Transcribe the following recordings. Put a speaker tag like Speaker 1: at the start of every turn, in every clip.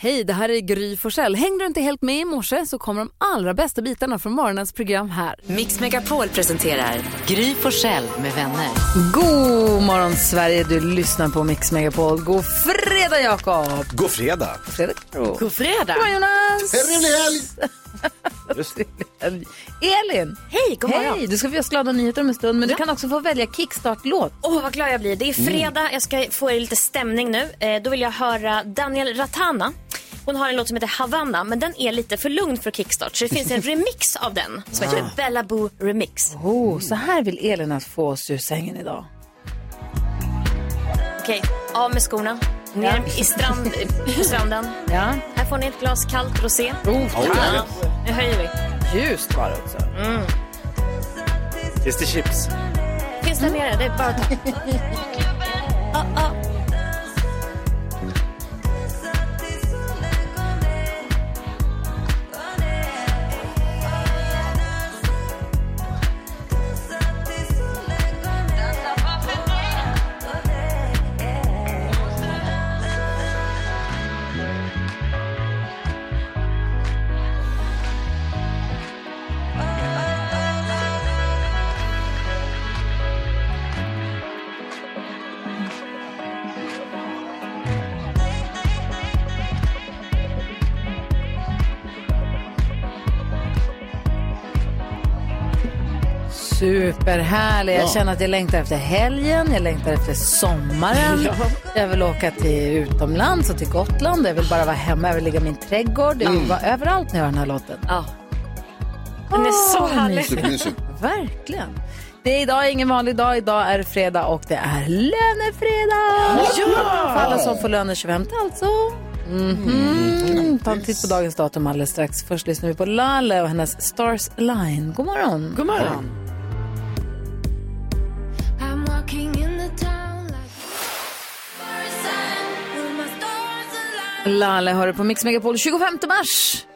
Speaker 1: Hej, det här är Gry Forssell. Hängde du inte helt med i morse så kommer de allra bästa bitarna från morgonens program här.
Speaker 2: Mix Megapol presenterar Gry Forssell med vänner.
Speaker 1: God morgon Sverige, du lyssnar på Mix Megapol. God fredag Jakob!
Speaker 3: God fredag!
Speaker 1: Fredag Karo.
Speaker 2: God fredag!
Speaker 1: God morgon Jonas!
Speaker 4: Trevlig helg!
Speaker 1: Helg. Elin!
Speaker 2: Hej, god morgon!
Speaker 1: Hej! Du ska få ge oss glada nyheter om en stund men du
Speaker 2: Ja.
Speaker 1: kan också få välja kickstart-låt. Mm.
Speaker 2: Åh, vad glad jag blir. Det är fredag, jag ska få er lite stämning nu. Eh, då vill jag höra Daniel Ratana. Hon har en låt som heter Havana, men den är lite för lugn för kickstart. Så det finns en remix av den
Speaker 1: Ah.
Speaker 2: som heter Bella Boo Remix.
Speaker 1: Oh, så här vill Elin att få oss ur sängen idag.
Speaker 2: Okej, av med skorna. Ner i strand, på stranden.
Speaker 1: Ja,
Speaker 2: Här får ni ett glas kallt rosé.
Speaker 1: oh,
Speaker 2: Ja, nu höjer vi.
Speaker 1: ljust var det också.
Speaker 3: Finns det chips?
Speaker 2: Finns
Speaker 1: Mm.
Speaker 2: där nere, det är bara att ta. Ah, ah.
Speaker 1: Superhärlig. Jag känner att jag längtar efter helgen, jag längtar efter sommaren. Jag vill åka till utomlands och till Gotland. Jag vill bara vara hemma, jag vill ligga i min trädgård. Jag vill vara överallt när jag hör den här låten.
Speaker 2: Ja. Den är så
Speaker 1: Åh,
Speaker 2: härlig.
Speaker 1: mysigt. Verkligen. Det är idag ingen vanlig dag. Idag är det fredag och det är lönefredag! För alla som får löner 25 alltså. Mhm. Ta en titt på dagens datum alldeles strax. Först lyssnar vi på Lale och hennes Stars Line. God morgon! God morgon! Lale hör du på Mix Megapol 25 mars.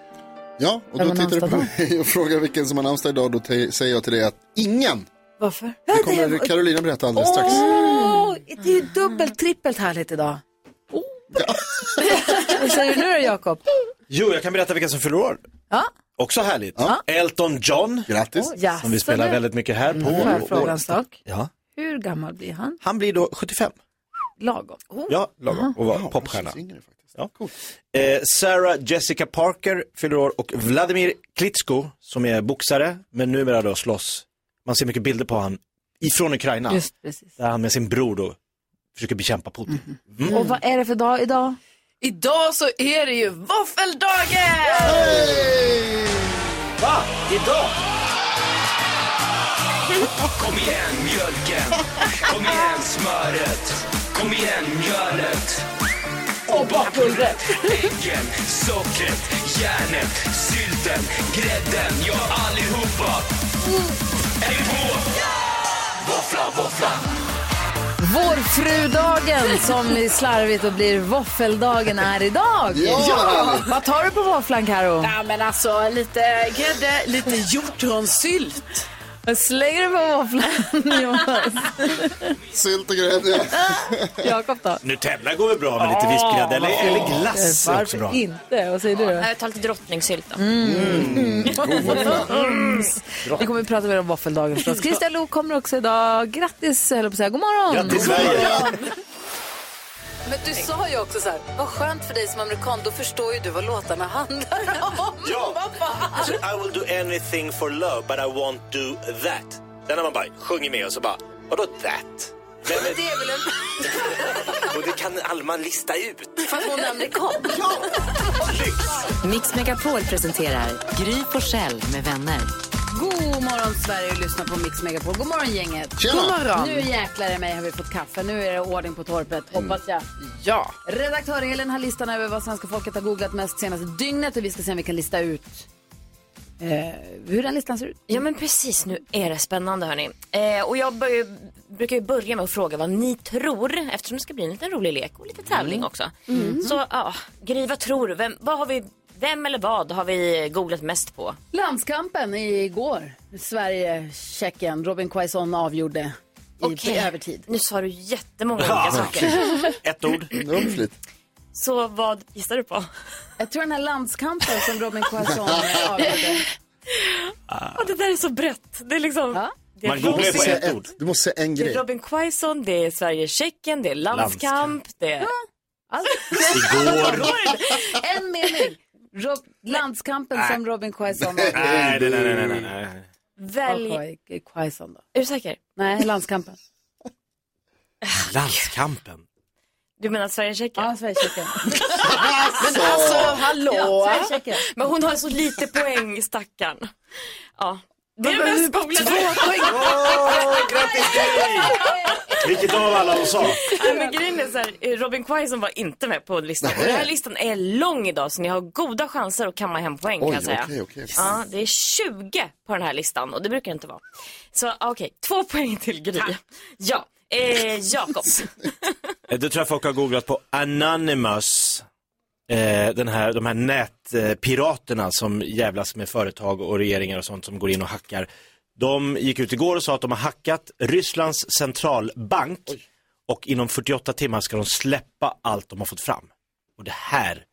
Speaker 5: Ja, och
Speaker 1: Vem
Speaker 5: då
Speaker 1: har
Speaker 5: tittar du på
Speaker 1: namnsdag
Speaker 5: mig och frågar vilken som har namnsdag idag. Då te- säger jag till dig att ingen.
Speaker 1: Varför?
Speaker 5: Det kommer Carolina berätta alldeles strax.
Speaker 1: Åh, det är ju dubbelt, trippelt härligt idag. Vad säger du nu då, Jakob?
Speaker 3: Jo, jag kan berätta vilka som fyller år.
Speaker 1: Ja.
Speaker 3: Också härligt. Elton John,
Speaker 5: Grattis.
Speaker 1: Jaså,
Speaker 3: som vi spelar
Speaker 1: du.
Speaker 3: väldigt mycket här på.
Speaker 5: Mm.
Speaker 1: Får jag
Speaker 3: Och-
Speaker 1: fråga en sak?
Speaker 3: Ja.
Speaker 1: Hur gammal blir han?
Speaker 3: Han blir då 75.
Speaker 1: Lagom.
Speaker 3: Ja, lagom. Och var popstjärna.
Speaker 5: Yngre faktiskt.
Speaker 3: Ja. Eh, Sarah Jessica Parker fyller år och Vladimir Klitschko som är boxare men numera då slåss. Man ser mycket bilder på han ifrån Ukraina
Speaker 1: Just precis.
Speaker 3: där han med sin bror då försöker bekämpa Putin.
Speaker 1: Mm-hmm.
Speaker 3: Mm.
Speaker 5: Mm.
Speaker 1: Och vad är det för dag idag?
Speaker 6: Idag så är det ju våffeldagen!
Speaker 3: Va? Idag?
Speaker 7: Kom igen mjölken, kom igen smöret, kom igen mjölet och bakpulvret, äggen, sockret, järnet, sylten, grädden, ja allihopa. Häng på! Våffla, våffla.
Speaker 1: Vårfrudagen som är slarvigt och blir våffeldagen är idag.
Speaker 5: Ja!
Speaker 1: Vad tar du på våfflan, Karo?
Speaker 6: Ja men alltså lite grädde, lite hjortronsylt.
Speaker 1: Vad slänger du på våfflan, Jonas?
Speaker 5: Sylt och grädde.
Speaker 1: Jakob då?
Speaker 3: Nu tävlar går väl bra med lite vispgrädde eller, eller glass är också
Speaker 1: Varför
Speaker 3: bra.
Speaker 1: inte? Vad säger du då? Mm.
Speaker 2: Jag tar lite drottningsylt då.
Speaker 3: Mm.
Speaker 1: Vi kommer att prata mer om våffeldagen förstås. Kristian Lok kommer också idag. Grattis, höll jag på att säga. God morgon!
Speaker 3: Grattis Sverige!
Speaker 1: Men du sa ju också så här, vad skönt för dig som amerikan, då förstår ju du vad låtarna handlar om.
Speaker 3: Ja. Alltså, I will do anything for love but I won't do that. Den har man bara sjunger med och så bara, vadå that? Men, men,
Speaker 1: Det är väl en...
Speaker 3: och det kan Alma lista ut.
Speaker 1: För att hon är amerikan.
Speaker 2: Mix Megapol presenterar Gry Forssell med vänner.
Speaker 1: God morgon Sverige och lyssna på Mix Megapol. God morgon gänget.
Speaker 5: Tjena. God
Speaker 1: morgon. Nu jäklar i mig har vi fått kaffe. Nu är det ordning på torpet, hoppas jag.
Speaker 6: Ja.
Speaker 1: Redaktör Elin har listan över vad svenska folket har googlat mest senaste dygnet och vi ska se om vi kan lista ut eh, hur den listan ser ut.
Speaker 2: Ja men precis, nu är det spännande hörni. Eh, och jag bör, ju- brukar ju börja med att fråga vad ni tror eftersom det ska bli en liten rolig lek och lite tävling
Speaker 1: Mm.
Speaker 2: också. Så ja, Gry vad tror du? Vem, vad har vi, vem eller vad har vi googlat mest på?
Speaker 1: Landskampen igår, Sverige-Tjeckien, Robin Quaison avgjorde i
Speaker 2: Okej.
Speaker 1: övertid.
Speaker 2: Nu sa du jättemånga olika saker.
Speaker 3: Ah, Ett ord.
Speaker 5: Det var flit.
Speaker 2: Så vad gissar du på?
Speaker 1: Jag tror den här landskampen som Robin Quaison avgjorde.
Speaker 2: Ja, det där är så brett. Det är liksom...
Speaker 1: Ja.
Speaker 2: Det är
Speaker 3: Ah. Man googlar ju
Speaker 2: Robin-
Speaker 3: på ett ord.
Speaker 5: Du måste säga en
Speaker 2: det är
Speaker 5: grej.
Speaker 2: Robin Quaison, det är Sverige-Tjeckien, det är landskamp, det är...
Speaker 1: Allt.
Speaker 3: Igår.
Speaker 1: En mening. Rob, landskampen som Robin Quaison avgjorde.
Speaker 3: Nej, nej, nej, nej, nej, nej.
Speaker 2: Välj... Är
Speaker 1: Och Quaison då.
Speaker 2: du säker?
Speaker 1: Nej, landskampen.
Speaker 3: Landskampen.
Speaker 2: Du menar Sverige-Tjeckien?
Speaker 1: Ja, Sverige-Tjeckien.
Speaker 5: Alltså,
Speaker 6: hallå!
Speaker 1: Sverige-Tjeckien.
Speaker 2: Men hon har så lite poäng, stackarn. Ja. Det är det mest googlade.
Speaker 3: Grattis Gry! Vilket av alla hon sa.
Speaker 2: Nej, Men grejen är så här, eh, Robin Quaison var inte med på listan. Och den här listan är lång idag så ni har goda chanser att kamma hem poäng kan
Speaker 5: Oj,
Speaker 2: jag säga.
Speaker 5: okej, okej.
Speaker 2: Ja, det är 20 på den här listan och det brukar det inte vara. Så okej, två poäng till Gry. Ja, eh, Jakob.
Speaker 3: Eh, Det tror jag folk har googlat på Anonymous. Eh, den här, de här nätpiraterna som jävlas med företag och regeringar och sånt som går in och hackar. De gick ut igår och sa att de har hackat Rysslands centralbank och inom 48 timmar ska de släppa allt de har fått fram. Och det här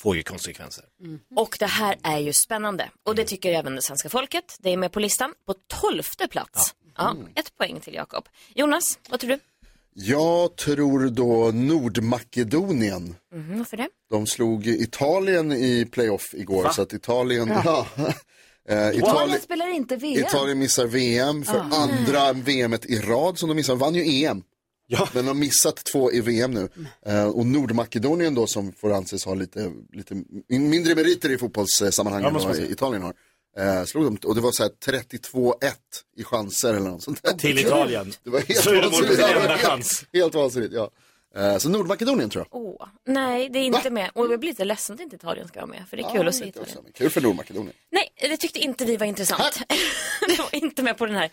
Speaker 3: får ju konsekvenser.
Speaker 2: Mm-hmm. Och det här är ju spännande. Och det tycker även det svenska folket. Det är med på listan på tolfte plats. Ja, Mm. ett poäng till Jakob. Jonas, vad tror du?
Speaker 5: Jag tror då Nordmakedonien.
Speaker 2: Mm, varför det?
Speaker 5: De slog Italien i playoff igår, så att Italien... Ja. Eh,
Speaker 1: Men
Speaker 5: Itali...
Speaker 1: de spelar inte VM.
Speaker 5: Italien missar VM för andra VMet i rad som de missar. Vann ju EM.
Speaker 3: Ja.
Speaker 5: Men de har missat två i VM nu. Eh, och Nordmakedonien då som får anses ha lite, lite min- mindre meriter i fotbollssammanhang
Speaker 3: Ja,
Speaker 5: än
Speaker 3: måste
Speaker 5: vad
Speaker 3: man säga.
Speaker 5: Italien har. Eh, slog dem, och det var så här 32-1 i chanser eller något sånt där.
Speaker 3: Till Italien.
Speaker 5: Det var helt
Speaker 3: Så är det vår
Speaker 5: vansinnigt. Ja,
Speaker 3: enda
Speaker 5: helt-
Speaker 3: chans.
Speaker 5: Helt vansinnigt, ja. Eh, så Nordmakedonien tror jag.
Speaker 2: Åh, nej, det är inte med. Och jag blir lite ledsen att inte Italien ska vara med, för det är kul att se
Speaker 5: Lite
Speaker 2: Italien.
Speaker 5: också, men Kul för Nordmakedonien.
Speaker 2: Nej, det tyckte inte vi var intressant. De var inte med på den här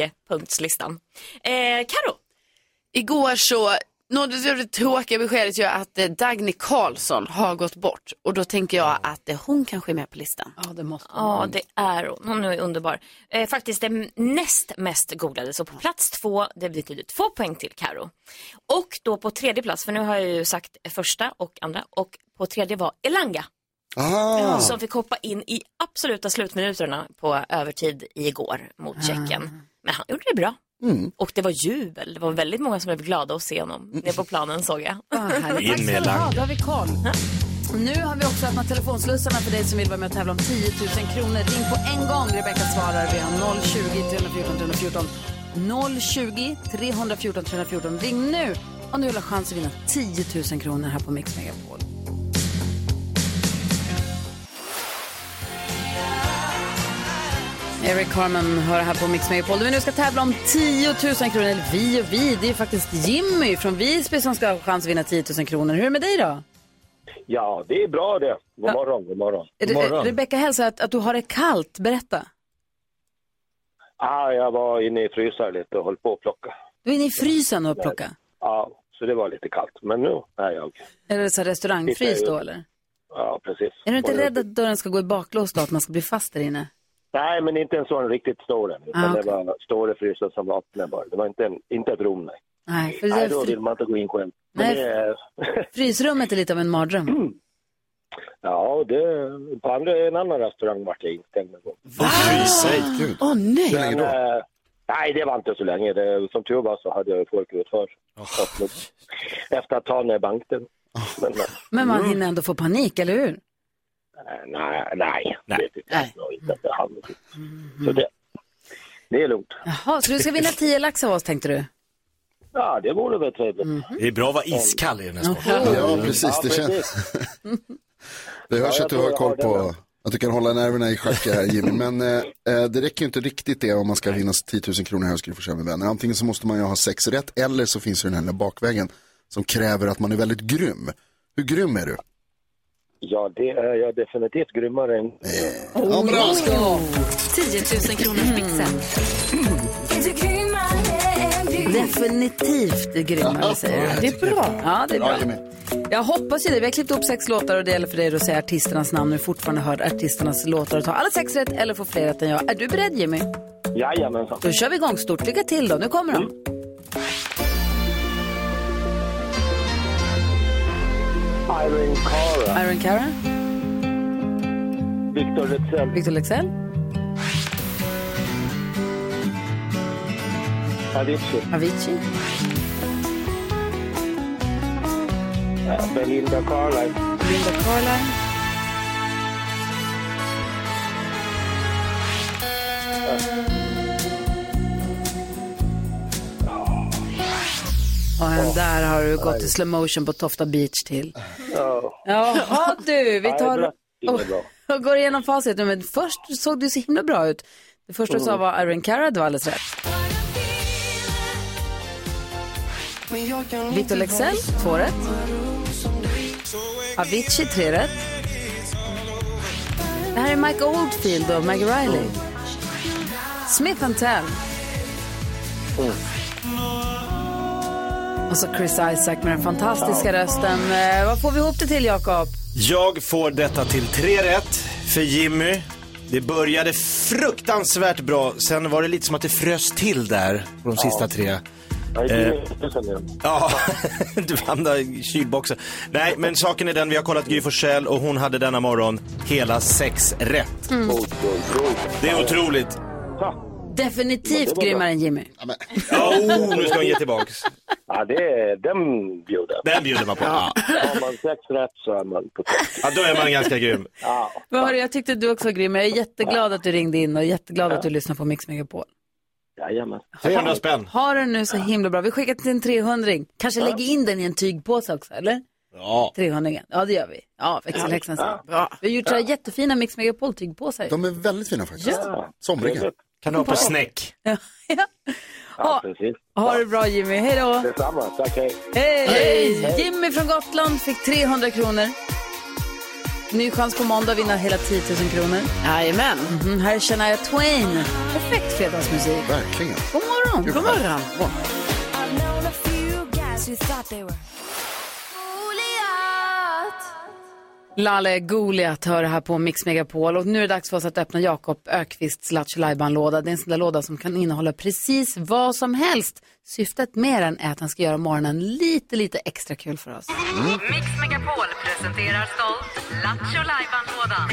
Speaker 2: 20-punktslistan. Eh, Karo,
Speaker 6: Igår så nåddes jag av det tråkiga beskedet ju att eh, Dagny Carlsson har gått bort. Och då tänker jag att eh, hon kanske är med på listan.
Speaker 1: Ja, det måste man.
Speaker 6: Mm.
Speaker 2: ja det är hon. Hon är underbar. Eh, faktiskt den näst mest googlade, så på plats två, det betyder två poäng till Karo. Och då på tredje plats, för nu har jag ju sagt första och andra, och på tredje var Elanga.
Speaker 5: Ah,
Speaker 2: som fick hoppa in i absoluta slutminuterna på övertid igår mot Tjeckien. Men han gjorde det bra. Och det var jubel. Det var väldigt många som blev glada att se honom nere på planen såg jag.
Speaker 1: Ah, härligt.
Speaker 3: In
Speaker 1: Tack ska
Speaker 3: med
Speaker 1: du ha,
Speaker 3: lang.
Speaker 1: då har vi koll. Och Nu har vi också öppnat telefonslussarna för dig som vill vara med och tävla om 10 000 kronor. Ring på en gång. Rebecka svarar. Vi har 020 314 314. 020 314 314. Ring nu om du vill ha chans att vinna 10 000 kronor här på Mix Megapol. Eric Carmen hör här på Mix Megapol. Vi nu ska tävla om 10 000 kronor. Eller vi och vi, det är faktiskt Jimmy från Visby som ska ha chans att vinna 10 000 kronor. Hur är det med dig då?
Speaker 8: Ja, det är bra det. God
Speaker 1: Ja.
Speaker 8: morgon, god morgon.
Speaker 1: Re- Rebecka hälsar att, att du har det kallt. Berätta.
Speaker 8: Ah, jag var inne i frysaren lite och höll på att plocka.
Speaker 1: Du är inne i frysen och plocka.
Speaker 8: Ja, så det var lite kallt. Men nu är jag...
Speaker 1: Är det så här restaurangfrys då eller?
Speaker 8: Ja, precis.
Speaker 1: Är du inte
Speaker 8: Var-
Speaker 1: rädd att dörren ska gå i baklås då, att man ska bli fast där inne?
Speaker 8: Nej, men inte en sån riktigt stor en. Utan
Speaker 1: Ah, okej.
Speaker 8: Det var stora frysar som var öppna bara. Det var inte, en, inte ett rum, nej.
Speaker 1: Nej, för det
Speaker 8: Nej, då
Speaker 1: där
Speaker 8: vill
Speaker 1: fr-
Speaker 8: man inte gå in själv. Men
Speaker 1: Nej.
Speaker 8: det, är-
Speaker 1: frysrummet är lite av en mardröm.
Speaker 8: ja, det, på andra, en annan restaurang vart jag instängd en gång.
Speaker 5: Ah!
Speaker 6: Åh nej!
Speaker 8: Men, eh, nej, det var inte så länge. Det, som tur var så hade jag ju folk utför.
Speaker 3: Ah.
Speaker 8: Efter att ta ner banken. Men, eh,
Speaker 1: Men man hinner ändå få panik, eller hur?
Speaker 8: Nej, nej.
Speaker 3: Nej. Mm.
Speaker 8: Det är inte, inte att det handlar om. Så det, det är lugnt.
Speaker 1: Jaha, så du ska vinna 10 lax av oss tänkte du?
Speaker 8: Ja, det vore väl trevligt.
Speaker 3: Det är bra att vara iskall i den här Mm. sporten.
Speaker 5: Mm. ja, precis.
Speaker 8: Ja,
Speaker 5: Det, känns,
Speaker 8: precis.
Speaker 5: det hörs
Speaker 8: Ja, jag
Speaker 5: att du
Speaker 8: tror
Speaker 5: har
Speaker 8: jag
Speaker 5: koll
Speaker 8: har det
Speaker 5: på
Speaker 8: med.
Speaker 5: att du kan hålla nerverna i schack här Jimmy. Men eh, eh, det räcker ju inte riktigt det om man ska vinna 10 000 kronor här och skulle få köra med vänner. Antingen så måste man ju ha sex rätt eller så finns ju den här lilla bakvägen som kräver att man är väldigt grym. Hur grym är du?
Speaker 8: Ja, det är jag definitivt grymmare än...
Speaker 5: Ja,
Speaker 1: Oh,
Speaker 5: bra ska du ha.
Speaker 9: 10 000
Speaker 1: Mm.
Speaker 9: kronors mixen.
Speaker 1: Definitivt grymmare, säger jag. Det är bra. Ja, det är bra.
Speaker 5: Ja, Jimmy.
Speaker 1: Jag hoppas ju det. Vi har klippt upp sex låtar och det gäller för dig att säga artisternas namn när du fortfarande hör artisternas låtar och ta alla sex rätt eller få fler rätt än jag. Är du beredd, Jimmy?
Speaker 8: Jajamensan.
Speaker 1: Då kör vi igång stort. Lycka till då. Nu kommer de.
Speaker 8: Irene Cara,
Speaker 1: Iron Cara,
Speaker 8: Victor Letzell,
Speaker 1: Victor Leksell,
Speaker 8: Avicii,
Speaker 1: Avicii,
Speaker 8: eh, Belinda Carlisle,
Speaker 1: Linda Carlisle, Och den där har du gått i slow motion på Tofta Beach till.
Speaker 8: ja,
Speaker 1: Jaha du, vi
Speaker 8: Nej,
Speaker 1: tar
Speaker 8: det är bra.
Speaker 1: och går igenom facit. nu, Men först såg du så himla bra ut. Det första du sa var Irene Cara, det var alldeles rätt. Victor Leksell, två rätt. Avicii, tre rätt. Det här är Mike Oldfield och Maggie Riley. Smith and Tell.
Speaker 8: Mm.
Speaker 1: Och så Chris Isaac med den fantastiska rösten. Eh, vad får vi ihop det till, Jakob?
Speaker 3: Jag får detta till tre rätt för Jimmy. Det började fruktansvärt bra, sen var det lite som att det frös till där på de sista tre.
Speaker 8: Nej,
Speaker 3: Eh.
Speaker 8: det är sen igen.
Speaker 3: Ja, du hamnade i kylboxen. Nej, men saken är den, vi har kollat Gry Forssell och hon hade denna morgon hela sex rätt. Det är otroligt.
Speaker 1: Definitivt grymmare än Jimmy.
Speaker 5: Ja, men,
Speaker 3: Oh, nu ska hon ge tillbaks.
Speaker 8: Ja, det är den bjuder.
Speaker 3: Den bjuder man på. Ja,
Speaker 8: Har man sex rätt så är man på topp.
Speaker 3: då är man ganska grym.
Speaker 8: Ja,
Speaker 1: Men hörru, jag tyckte du också var grym. Jag är jätteglad att du ringde in och jätteglad att du lyssnar på Mix Megapol.
Speaker 8: jajamän.
Speaker 3: 300 spänn.
Speaker 1: Har du nu så himla bra. Vi skickar till en 300 Kanske lägger in den i en tygpåse också, eller?
Speaker 3: Ja.
Speaker 1: 300 Ja, det gör vi. Ja, växelhäxan säger. Bra. Vi har gjort så här jättefina Mix Megapol-tygpåsar.
Speaker 5: de är väldigt fina faktiskt.
Speaker 8: Ja.
Speaker 5: Somriga.
Speaker 3: Kan du ha på snäck?
Speaker 8: Ja, precis.
Speaker 1: Ha det bra Jimmy, hej då!
Speaker 8: Detsamma. Tack, hej.
Speaker 1: Hej! Jimmy från Gotland fick 300 kronor. Ny chans på måndag att vinna hela 10 000 kronor.
Speaker 6: Jajamän.
Speaker 1: Mm, här är Shania Twain. Perfekt fredagsmusik.
Speaker 5: Verkligen.
Speaker 1: God morgon!
Speaker 5: God morgon.
Speaker 1: Lalle Goliat hör här på Mix Megapol och nu är det dags för oss att öppna Jakob Ökvists Lattjo låda Det är en sån där låda som kan innehålla precis vad som helst. Syftet med den är att han ska göra morgonen lite, lite extra kul för oss.
Speaker 9: Mix Megapol presenterar stolt Lattjo Lajban-lådan.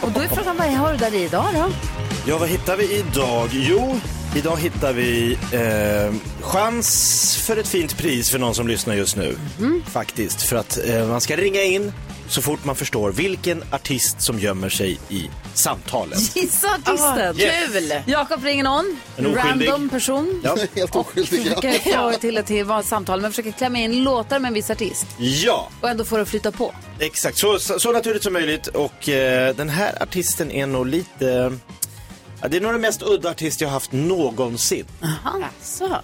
Speaker 1: Och då är frågan, vad har du där i idag då?
Speaker 3: Ja, vad hittar vi idag? Jo, idag hittar vi eh, chans för ett fint pris för någon som lyssnar just nu. Faktiskt, för att eh, man ska ringa in så fort man förstår vilken artist som gömmer sig i samtalet.
Speaker 1: Gissa artisten!
Speaker 3: Yes.
Speaker 6: Kul!
Speaker 1: Jakob ringer någon,
Speaker 3: En
Speaker 1: en
Speaker 3: oskyldig.
Speaker 1: random person.
Speaker 3: Ja.
Speaker 5: Helt oskyldiga.
Speaker 1: Försöker få till ett till vad samtal, men försöker klämma in låtar med en viss artist
Speaker 3: ja,
Speaker 1: och ändå få det att flytta på.
Speaker 3: exakt. Så, så, så naturligt som möjligt. Och eh, den här artisten är nog lite... Ja, det är nog den mest udda artist jag haft någonsin.
Speaker 6: Alltså.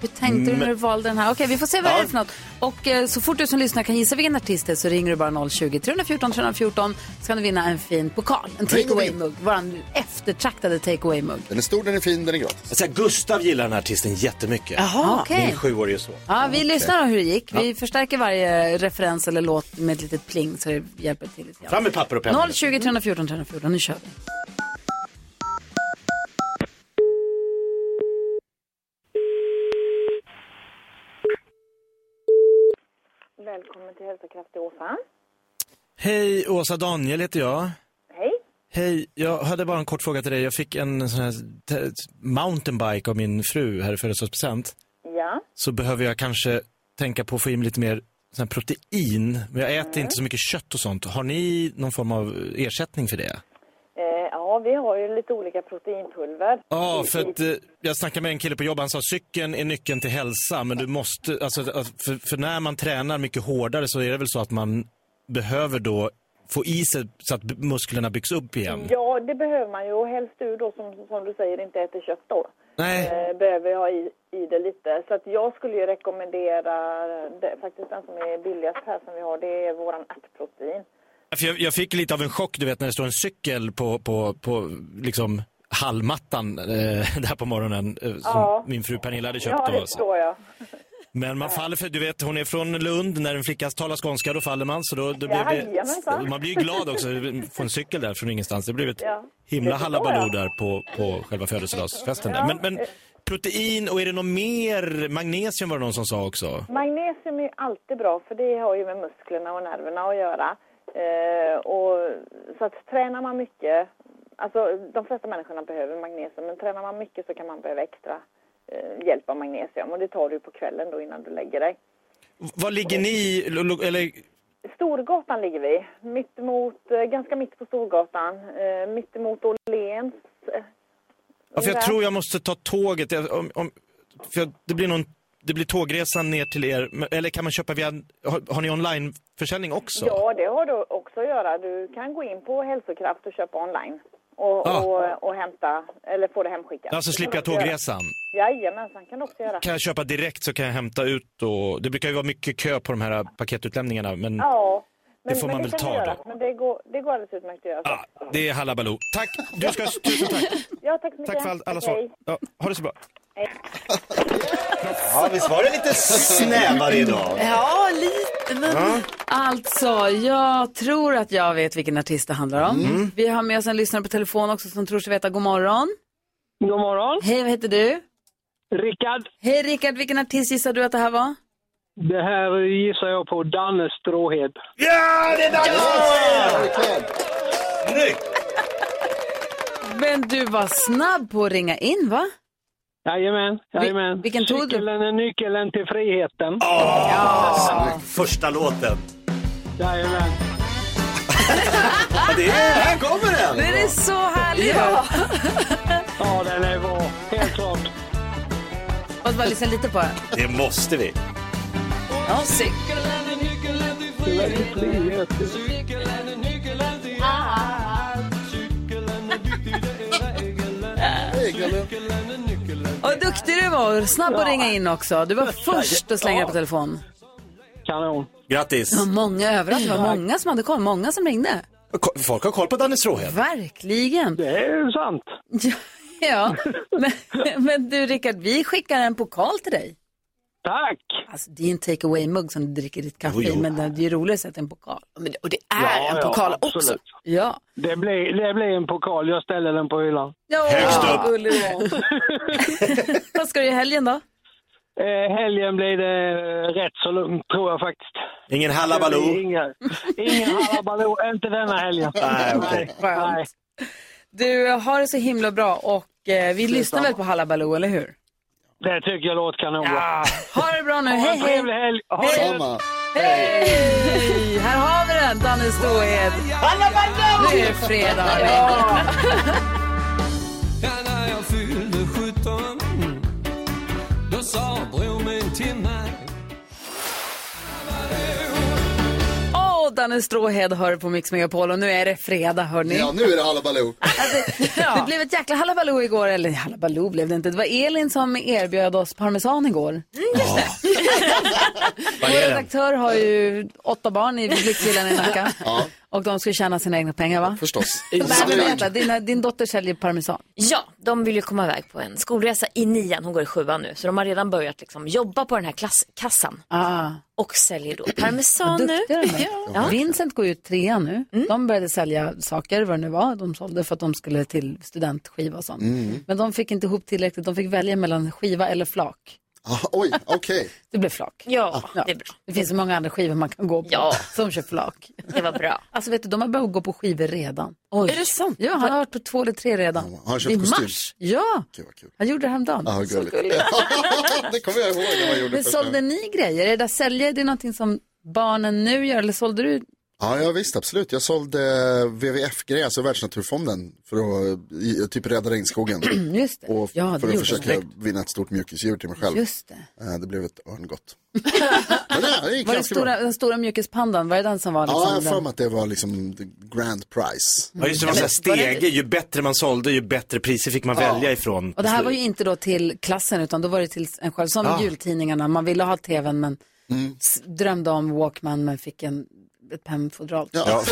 Speaker 1: Hur tänkte du när du valde den här? Okej, vi får se vad det är för något. Och eh, så fort du som lyssnar kan gissa vilken artist det är så ringer du bara 020-314 314 så kan du vinna en fin pokal, en
Speaker 5: Ring och vinn.
Speaker 1: takeaway-mugg. Vår eftertraktade takeaway-mugg.
Speaker 5: Den är stor, den är fin, den är gratis.
Speaker 3: Jag säger, Gustav gillar den här artisten jättemycket.
Speaker 1: Jaha.
Speaker 3: Min sjuårige son.
Speaker 1: Ja, vi lyssnar om hur det gick. Vi förstärker varje referens eller låt med ett litet pling så det hjälper till lite grann.
Speaker 3: Fram med papper och penna.
Speaker 1: 020 314 314, nu kör vi.
Speaker 3: Hej, Åsa Daniel heter jag. Hej. Hej, jag hade bara en kort fråga till dig. Jag fick en sån här te- mountainbike av min fru här i födelsedagspresent.
Speaker 10: Ja,
Speaker 3: Så behöver jag kanske tänka på att få in lite mer sån här protein. Men jag äter inte så mycket kött och sånt. Har ni någon form av ersättning för det?
Speaker 10: eh, ja vi har ju lite olika proteinpulver.
Speaker 3: Ja, för att eh, jag snackade med en kille på jobbet. Han sa cykeln är nyckeln till hälsa. Men du måste, alltså, att- för, för när man tränar mycket hårdare så är det väl så att man behöver då få i sig så att b- musklerna byggs upp igen.
Speaker 10: Ja, det behöver man ju. Och helst du då som, som du säger inte äter kött då.
Speaker 3: Nej.
Speaker 10: Eh, behöver ha i, i det lite. Så att jag skulle ju rekommendera det, faktiskt den som är billigast här som vi har. Det är våran ärtprotein.
Speaker 3: För jag, jag fick lite av en chock, du vet, när det står en cykel på, på, på liksom hallmattan eh, där på morgonen eh, som
Speaker 10: Ja.
Speaker 3: min fru Pernilla hade köpt.
Speaker 10: Ja,
Speaker 3: då,
Speaker 10: det alltså?
Speaker 3: så.
Speaker 10: förstår jag.
Speaker 3: Men man faller för, du vet, hon är från Lund, när en flicka talar skånska då faller man. Så då, då blev det,
Speaker 10: Jajamensan.
Speaker 3: man blir ju glad också, få en cykel där från ingenstans. Det blev ett
Speaker 10: Ja.
Speaker 3: himla
Speaker 10: Det förstår
Speaker 3: hallabaloo
Speaker 10: jag.
Speaker 3: där på, på själva födelsedagsfesten.
Speaker 10: Ja.
Speaker 3: Där. Men, men protein och är det något mer, magnesium var det någon som sa också.
Speaker 10: Magnesium är ju alltid bra för det har ju med musklerna och nerverna att göra. Eh, och, så att tränar man mycket, alltså de flesta människorna behöver magnesium men tränar man mycket så kan man behöva extra eh, hjälp av magnesium och det tar du på kvällen då innan du lägger dig.
Speaker 3: Var ligger ni, lo- lo- eller
Speaker 10: Storgatan ligger vi, mitt emot, eh, ganska mitt på Storgatan, eh, mitt emot Åhléns. Eh,
Speaker 3: Ja, för jag
Speaker 10: Där.
Speaker 3: tror jag måste ta tåget. Jag- Om, om, för jag, det, blir någon, det blir tågresan ner till er. Men- Eller kan man köpa via... Har, har ni onlineförsäljning också?
Speaker 10: Ja, det har du också att göra. Du kan gå in på Hälsokraft och köpa online och,
Speaker 3: Ah.
Speaker 10: och, och hämta, eller få det hemskickat.
Speaker 3: Alltså
Speaker 10: Det
Speaker 3: slipper
Speaker 10: kan
Speaker 3: jag
Speaker 10: du också göra.
Speaker 3: tågresan.
Speaker 10: Jajamensan, kan du också göra.
Speaker 3: Kan jag köpa direkt så kan jag hämta ut och... Det brukar ju vara mycket kö på de här paketutlämningarna. Men
Speaker 10: Ja,
Speaker 3: Det får man väl
Speaker 10: kan
Speaker 3: ta
Speaker 10: du göra.
Speaker 3: då.
Speaker 10: Men det går, det går alldeles utmärkt att göra. så.
Speaker 3: det är hallabaloo. Tack! Du ska... Tusen tack!
Speaker 10: Ja, tack så mycket.
Speaker 3: Tack för all, alla svar.
Speaker 10: Okej.
Speaker 3: Ja, ha det så bra.
Speaker 11: Ja, visst var det lite snävare idag?
Speaker 1: Ja, lite men...
Speaker 11: Ja.
Speaker 1: Alltså, jag tror att jag vet vilken artist det handlar om.
Speaker 11: Mm.
Speaker 1: Vi har med oss en lyssnare på telefon också som tror sig veta god morgon. God morgon. Hej, vad heter du? Rickard. Hej Rickard, vilken artist gissar du att det här var?
Speaker 12: Det här gissar jag på Danne Stråhed.
Speaker 11: Ja, det är dags!
Speaker 1: Men du var snabb på att ringa in, va?
Speaker 12: Jajamän, jajamän.
Speaker 1: vilken tog du?
Speaker 12: Cykeln är nyckeln till friheten.
Speaker 11: Första låten.
Speaker 12: Jajamän.
Speaker 11: Ja, det är, här kommer den!
Speaker 1: Den är så härlig!
Speaker 12: Ja. ja, den är bra. Helt klart.
Speaker 1: Måste bara lyssna lite på den.
Speaker 11: Det måste vi.
Speaker 1: Ja, cykeln
Speaker 12: är nyckeln till friheten.
Speaker 1: Och duktig du var, snabb att ringa in också. Du var först att slänga på telefon.
Speaker 12: Kanon.
Speaker 3: Grattis!
Speaker 1: Det var många överallt, det var många som hade koll, många som ringde.
Speaker 3: Ko- Folk har koll på Danne Stråhed.
Speaker 1: Verkligen.
Speaker 12: Det är sant.
Speaker 1: Ja, ja. Men, men du Rickard, vi skickar en pokal till dig.
Speaker 12: Tack!
Speaker 1: Alltså, det är en take away-mugg som du dricker ditt kaffe
Speaker 12: Jo, jo.
Speaker 1: i, men det är ju roligare att sätta en pokal.
Speaker 6: och det
Speaker 12: är Ja, en ja, pokal också. absolut.
Speaker 1: Ja.
Speaker 12: Det blir, det blir en pokal. Jag ställer den på hyllan.
Speaker 1: Ja,
Speaker 12: Högst
Speaker 1: vad
Speaker 12: upp.
Speaker 1: gullig du var. Vad ska du i helgen då?
Speaker 12: Eh, helgen blir det eh, rätt så lugnt tror jag faktiskt.
Speaker 11: Ingen hallabaloo?
Speaker 12: Det blir Inga, ingen hallabaloo, inte denna helgen.
Speaker 11: Nej, okej.
Speaker 12: Nej.
Speaker 1: Du, har det så himla bra och eh, vi lyssnar väl på Hallabaloo, eller hur?
Speaker 12: Det tycker jag låter kanon.
Speaker 1: Ja. Ha det bra nu,
Speaker 12: Ha en
Speaker 1: hej hej!
Speaker 12: trevlig helg. Ha det
Speaker 1: Hej.
Speaker 12: gött.
Speaker 1: Hej! Här har vi den, Danne Ståhed.
Speaker 7: Hallabaloo!
Speaker 1: Nu är det fredag.
Speaker 7: Ja.
Speaker 13: Ja, när jag fyllde 17 Då sa bror min till mig
Speaker 1: Åh, Danne Stråhed hör på Mix Megapol och nu är det fredag hörni.
Speaker 5: Ja, nu är det hallabaloo.
Speaker 1: Det blev ett jäkla hallabaloo igår, eller hallabaloo blev det inte. Det var Elin som erbjöd oss parmesan
Speaker 2: Mm,
Speaker 1: igår.
Speaker 7: Vad
Speaker 1: Vår
Speaker 7: är den?
Speaker 1: redaktör har ju åtta barn i Lyxvillan i Nacka.
Speaker 5: Ja.
Speaker 1: Och de ska ju tjäna sina egna pengar va?
Speaker 5: Förstås.
Speaker 1: Så där vill jag veta. Din, din dotter säljer parmesan.
Speaker 2: Ja, de vill ju komma iväg på en skolresa i nian, hon går i sjuan nu, så de har redan börjat liksom jobba på den här klasskassan.
Speaker 1: Ah.
Speaker 2: Och säljer då
Speaker 1: Vad
Speaker 2: parmesan nu.
Speaker 1: duktiga de är.
Speaker 2: Ja. Mm.
Speaker 1: Vincent går ju trea nu. De började sälja saker, vad det nu var, de sålde för att de skulle till studentskiva och sånt.
Speaker 5: Mm.
Speaker 1: Men de fick inte ihop tillräckligt, de fick välja mellan skiva eller flak.
Speaker 5: Ah, oj, okej.
Speaker 1: Det blev flak.
Speaker 2: Ja, det är bra.
Speaker 1: Det finns så många andra skivor man kan gå på
Speaker 2: Ja.
Speaker 1: som kör flak.
Speaker 2: Det var bra.
Speaker 1: Alltså vet du, de har börjat gå på skivor redan. Oj.
Speaker 2: Är det sant?
Speaker 1: Ja, han har varit på två eller tre redan.
Speaker 5: Har han köpt
Speaker 1: I
Speaker 5: kostym?
Speaker 1: mars. Ja, han gjorde det häromdagen.
Speaker 5: Ah,
Speaker 1: Så
Speaker 5: gulligt.
Speaker 1: gulligt.
Speaker 5: det kommer jag ihåg när man gjorde
Speaker 1: Men
Speaker 5: första
Speaker 1: sålde
Speaker 5: gången.
Speaker 1: ni grejer? Är det där säljer, det är någonting som barnen nu gör eller sålde du
Speaker 5: Ja, ja visst, absolut. Jag sålde WWF-gräs alltså Världsnaturfonden, för att i- typ rädda regnskogen.
Speaker 1: Just det.
Speaker 5: Och
Speaker 1: Ja, det
Speaker 5: för att
Speaker 1: gjorde
Speaker 5: försöka
Speaker 1: du.
Speaker 5: vinna ett stort mjukisdjur till mig själv.
Speaker 1: Just
Speaker 5: det. Eh, det blev ett örngott. Men ja, det gick
Speaker 1: Var det
Speaker 5: ganska
Speaker 1: stora,
Speaker 5: bra.
Speaker 1: den stora mjukispandan, var det den som var
Speaker 5: Ja, jag har
Speaker 1: den-
Speaker 5: för mig att det var liksom the grand prize.
Speaker 3: Ja, just det, det var så här stege, ju bättre man sålde ju bättre priser fick man
Speaker 5: Ja.
Speaker 3: välja ifrån.
Speaker 1: Och det här var ju inte då till klassen utan då var det till en själv. Som
Speaker 3: Ja.
Speaker 1: jultidningarna, man ville ha tvn men
Speaker 6: Mm.
Speaker 1: s- drömde om Walkman men fick en, ett pennfodral.
Speaker 3: Ja.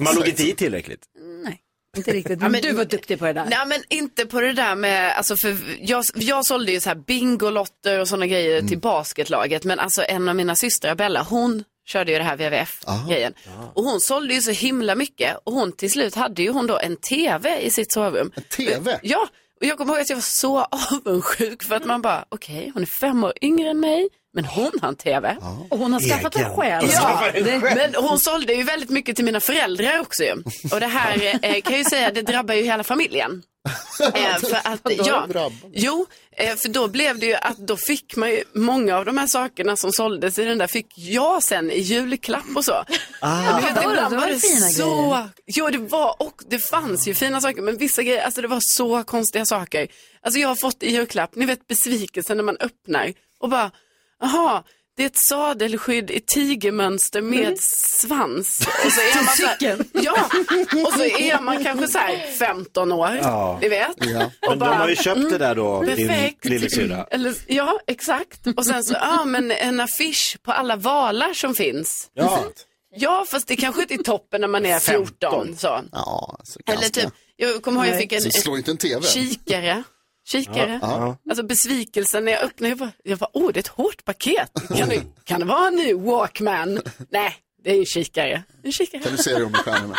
Speaker 3: Man låg inte i tillräckligt.
Speaker 1: Inte riktigt,
Speaker 6: Ja,
Speaker 1: men
Speaker 6: men-
Speaker 1: du var duktig på det där.
Speaker 6: Nej men inte på det där med, alltså för jag, jag sålde ju så här bingolotter och sådana grejer till basketlaget. Men alltså en av mina systrar, Bella, hon körde ju det här
Speaker 5: Ah.
Speaker 6: WWF-grejen. Och hon sålde ju så himla mycket och hon till slut hade ju hon då en TV i sitt sovrum. En
Speaker 5: TV?
Speaker 6: Ja, och jag kommer ihåg att jag var så avundsjuk för att man bara, okej hon är fem år yngre än mig, men hon har en TV.
Speaker 1: Och hon har skaffat den
Speaker 6: Egen.
Speaker 1: själv.
Speaker 6: Ja,
Speaker 1: Det-
Speaker 6: men hon sålde ju väldigt mycket till mina föräldrar också ju. Och det här eh, kan jag ju säga, det drabbar ju hela familjen. Eh, för att,
Speaker 1: Vadå
Speaker 6: ja,
Speaker 1: drabbar?
Speaker 6: jo, eh, för då blev det ju att då fick man ju, många av de här sakerna som såldes i den där fick jag sen i julklapp och så.
Speaker 1: Ah.
Speaker 6: Du vet,
Speaker 1: Vadå då?
Speaker 6: ibland
Speaker 1: Då var det fina grejer.
Speaker 6: Jo, det var och det fanns ju fina saker, men vissa grejer, alltså det var så konstiga saker. Alltså jag har fått i julklapp, ni vet besvikelsen när man öppnar och bara, jaha, det är ett sadelskydd i tigermönster
Speaker 1: Mm.
Speaker 6: med svans. Och så är man så här, ja, och så är man kanske så här 15 år,
Speaker 3: Ja.
Speaker 6: ni vet.
Speaker 3: Ja.
Speaker 6: Och
Speaker 3: Men de har ju köpt det där då, din
Speaker 6: perfekt.
Speaker 3: lillasyrra.
Speaker 6: Eller, ja, exakt. Och sen så, ja men en affisch på alla valar som finns.
Speaker 5: Ja.
Speaker 6: Ja, fast det kanske inte är toppen när man är 14. Så.
Speaker 5: Ja, så
Speaker 6: Eller typ, jag kommer ihåg jag fick en,
Speaker 5: Så slå inte en TV.
Speaker 6: kikare. Kikare.
Speaker 5: Ja,
Speaker 6: Alltså besvikelsen när jag öppnade, jag bara, jag bara åh det är ett hårt paket. Kan det, kan det vara en ny Walkman? Nej, det är ju en kikare. En kikare.
Speaker 5: Kan du se det om stjärnorna?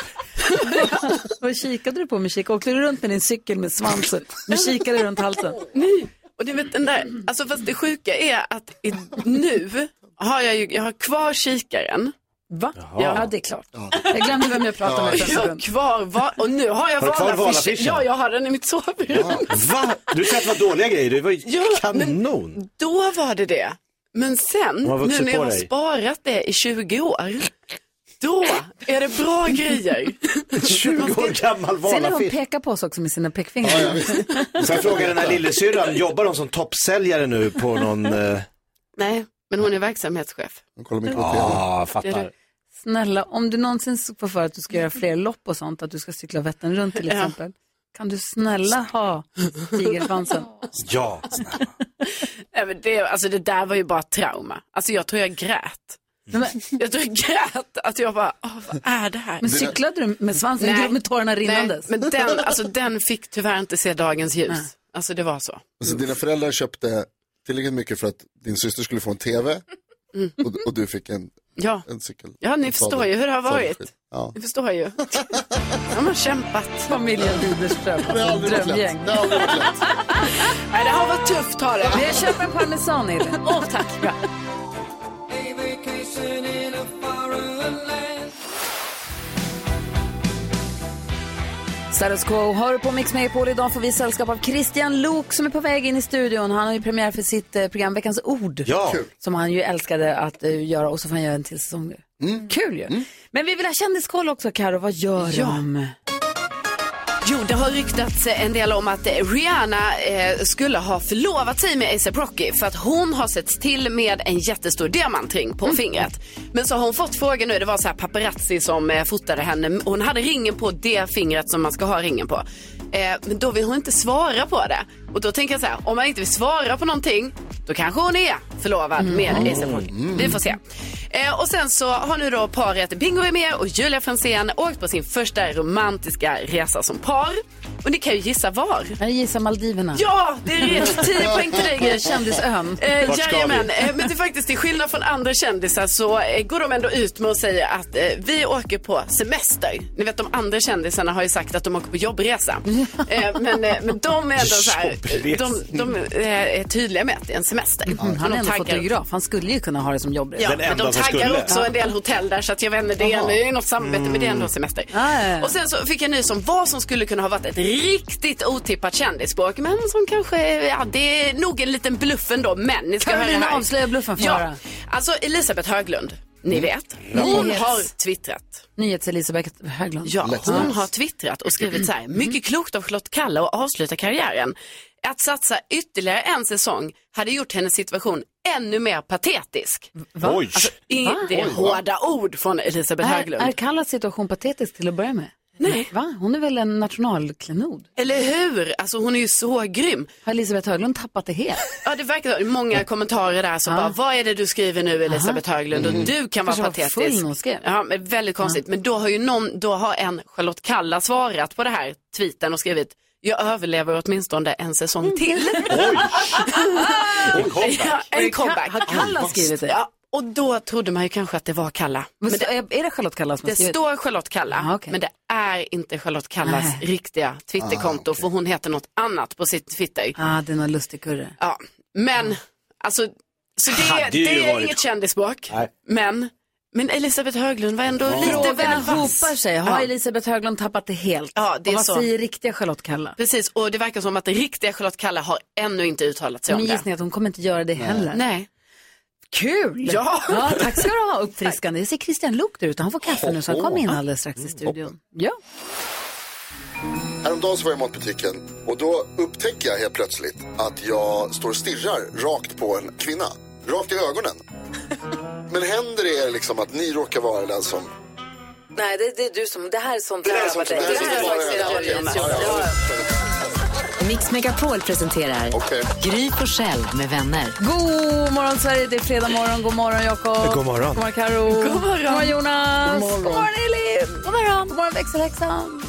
Speaker 1: Vad kikade du på med kikare? Åkte du runt med din cykel med svansen? Med kikare runt halsen?
Speaker 6: Nej, och du vet den där, alltså fast det sjuka är att i, nu har jag ju, jag har kvar kikaren.
Speaker 1: Va? Ja, det är klart. Jag glömde vem jag pratade med för en
Speaker 6: Jag har
Speaker 1: sekund.
Speaker 6: kvar, va, och nu har jag
Speaker 3: Har du kvar
Speaker 6: valaffischen.
Speaker 3: valaffischen?
Speaker 6: Ja, jag har den i mitt sovrum.
Speaker 3: Va? Du sa att det var dåliga grejer, det var ju
Speaker 6: Ja,
Speaker 3: kanon.
Speaker 6: Då var det det. Men sen,
Speaker 3: Hon har vuxit
Speaker 6: nu när
Speaker 3: på
Speaker 6: jag har
Speaker 3: dig.
Speaker 6: sparat det i 20 år, då är det bra grejer.
Speaker 3: 20 år gammal
Speaker 1: Ser ni hur hon
Speaker 3: valafisk.
Speaker 1: pekar på oss också med sina pekfingrar?
Speaker 3: Sen frågar den här lillasyrran, jobbar de som toppsäljare nu på någon... Eh... Ah,
Speaker 6: Nej, men hon är verksamhetschef.
Speaker 5: Kolla
Speaker 6: mycket på TV.
Speaker 3: Ja,
Speaker 6: Det är
Speaker 3: fattar.
Speaker 6: det.
Speaker 1: Snälla, om du någonsin får för att du ska göra fler lopp och sånt, att du ska cykla Vättern runt till
Speaker 6: Ja.
Speaker 1: exempel, kan du snälla ha tigersvansen?
Speaker 3: Ja.
Speaker 6: Nej, men det, alltså, det där var ju bara trauma. Alltså, jag tror jag grät. Jag tror jag grät att jag bara, "Åh, vad är det här?
Speaker 1: Men cyklade du med svansen?
Speaker 6: Nej.
Speaker 1: Du Med tårarna rinnandes?
Speaker 6: Nej, men den, alltså, den fick tyvärr inte se dagens ljus. Alltså det var så.
Speaker 5: Alltså, dina föräldrar köpte tillräckligt mycket för att din syster skulle få en TV
Speaker 6: Mm.
Speaker 5: och, och du fick en,
Speaker 6: Ja.
Speaker 5: en cykel.
Speaker 6: Ja, ni
Speaker 5: En
Speaker 6: förstår
Speaker 5: sadel-
Speaker 6: ju hur det har varit.
Speaker 5: sadelskydd. Ja.
Speaker 6: Ni förstår ju. De har kämpat.
Speaker 1: Familjen Widerström, alltså,
Speaker 6: Det har aldrig varit lätt.
Speaker 1: drömgäng.
Speaker 6: Det har aldrig varit Nej, det har varit tufft har det.
Speaker 1: Men jag köper en parmesan i det.
Speaker 6: Åh, tack. Bra.
Speaker 1: Status quo har du på Mix Megapol. Idag får vi sällskap av Christian Lok som är på väg in i studion. Han har ju premiär för sitt eh, program Veckans ord.
Speaker 3: Ja. Kul.
Speaker 1: Som han ju älskade att eh, göra och så får han göra en till säsong nu.
Speaker 6: Mm.
Speaker 1: Kul ju. Men vi vill ha kändiskoll också Karo. Vad gör
Speaker 6: Ja.
Speaker 1: de?
Speaker 6: Jo, det har ryktats en del om att eh, Rihanna eh, skulle ha förlovat sig med ASAP Rocky för att hon har setts till med en jättestor diamantring på fingret. Men så har hon fått frågan nu, det var så här paparazzi som eh, fotade henne. Hon hade ringen på det fingret som man ska ha ringen på. Eh, men då vill hon inte svara på det. Och då tänker jag så här, om man inte vill svara på någonting, då kanske hon är förlovad med ASAP Rocky. Mm. Vi får se. Eh, och sen så har nu då paret Bingo är med och Julia Franzén åkt på sin första romantiska resa som par. Och ni kan ju gissa var.
Speaker 1: Jag gissar Maldiverna.
Speaker 6: Ja, det är rätt. 10 poäng till dig Gry.
Speaker 1: Kändisön.
Speaker 6: Eh,
Speaker 1: Vart ska
Speaker 6: jajamän,
Speaker 1: vi?
Speaker 6: eh, men det är faktiskt till skillnad från andra kändisar så eh, går de ändå ut med att säga att eh, vi åker på semester. Ni vet de andra kändisarna har ju sagt att de åker på jobbresa.
Speaker 1: Mm.
Speaker 6: Eh, men, eh, men de är ändå så här,
Speaker 1: Jobbresa.
Speaker 6: de, de eh, är tydliga med att det är en semester.
Speaker 1: Mm, han
Speaker 6: de
Speaker 1: är ändå
Speaker 6: taggar-
Speaker 1: fotograf. Han skulle ju kunna ha det som jobbresa.
Speaker 6: Ja, men de taggar också en del hotell där så att jag vet inte, det är
Speaker 1: Jaha.
Speaker 6: det är något samarbete men det är ändå semester.
Speaker 1: Ah.
Speaker 6: Och sen så fick jag nys om vad som skulle kunna ha varit ett riktigt otippat kändisspråk men som kanske, ja det är nog en liten bluff ändå men ni ska höra
Speaker 1: Carolina
Speaker 6: här.
Speaker 1: avslöjar bluffen för
Speaker 6: ja.
Speaker 1: Farah.
Speaker 6: Alltså Elisabeth Höglund. ni vet.
Speaker 1: Mm.
Speaker 6: Hon
Speaker 1: Yes.
Speaker 6: har twittrat.
Speaker 1: Nyhets-Elisabeth Högland.
Speaker 6: Ja, hon har twittrat och skrivit så här, mycket klokt av Charlotte Kalla att avsluta karriären. Att satsa ytterligare en säsong hade gjort hennes situation ännu mer patetisk.
Speaker 1: Va? Oj.
Speaker 6: Alltså, i,
Speaker 1: Va?
Speaker 6: Det är
Speaker 1: Oj, va?
Speaker 6: hårda ord från Elisabeth
Speaker 1: Är,
Speaker 6: Höglund.
Speaker 1: är Kallas situation patetisk till att börja med? Nej. Va? Hon är väl en nationalklenod?
Speaker 6: Eller hur? Alltså hon är ju så grym.
Speaker 1: Har Elisabeth Höglund tappat det helt?
Speaker 6: Ja, det verkar många kommentarer där som bara, vad är det du skriver nu Elisabeth Höglund och
Speaker 1: Mm.
Speaker 6: du kan vara
Speaker 1: Kanske var full när hon
Speaker 6: patetisk.
Speaker 1: skrev.
Speaker 6: Ja, men väldigt konstigt. Men då har ju någon, då har en Charlotte Kalla svarat på det här tweeten och skrivit, jag överlever åtminstone en
Speaker 1: Mm.
Speaker 6: säsong till.
Speaker 1: En comeback.
Speaker 6: Ja, en
Speaker 1: Har
Speaker 6: comeback.
Speaker 1: Ka- har Kalla skrivit det?
Speaker 6: Ja, och då trodde man ju kanske att det var Kalla.
Speaker 1: Men så- är det Charlotte Kalla som har
Speaker 6: Det
Speaker 1: skrivit?
Speaker 6: står Charlotte Kalla, men det är inte Charlotte Kallas
Speaker 1: Nej.
Speaker 6: riktiga
Speaker 5: Ah,
Speaker 6: Twitterkonto, för hon heter något annat på sitt Twitter.
Speaker 1: Ah, det är någon lustig kurre.
Speaker 6: Ja, men alltså, så det,
Speaker 1: Hade ju
Speaker 6: det är
Speaker 1: varit-
Speaker 6: inget kändisbråk.
Speaker 1: Nej.
Speaker 6: Men, men Elisabeth Höglund var ändå lite
Speaker 1: Frågorna
Speaker 6: väl vass.
Speaker 1: hopar sig. Har
Speaker 6: Ja.
Speaker 1: Elisabeth Höglund tappat det helt?
Speaker 6: Ja, det är
Speaker 1: och vad
Speaker 6: så.
Speaker 1: säger riktiga Charlotte Kalla?
Speaker 6: Precis, och det verkar som att den riktiga Charlotte Kalla har ännu inte uttalat sig om
Speaker 1: Min
Speaker 6: det.
Speaker 1: gissning är att hon kommer inte göra det heller.
Speaker 6: Nej.
Speaker 1: Kul!
Speaker 6: Ja.
Speaker 1: tack ska du ha, uppfriskande. Jag ser Christian Luuk där ute, han får kaffe nu så han kommer in alldeles strax i studion. Ja.
Speaker 5: Häromdagen så var jag i matbutiken och då upptäcker jag helt plötsligt att jag står och stirrar rakt på en kvinna. Rakt i ögonen. Men händer det liksom att ni råkar vara den som...
Speaker 1: Nej, det, är du som, det här är sånt
Speaker 5: Det här är sånt som- det här är sånt som-
Speaker 14: Mix Megapol presenterar Gry på själv med vänner.
Speaker 1: God morgon Sverige, det är fredag morgon. God morgon Jakob.
Speaker 14: Eh, God morgon.
Speaker 1: God morgon Karo. God morgon, Jonas.
Speaker 14: God morgon.
Speaker 1: Elin. God morgon, god morgon växelhäxan.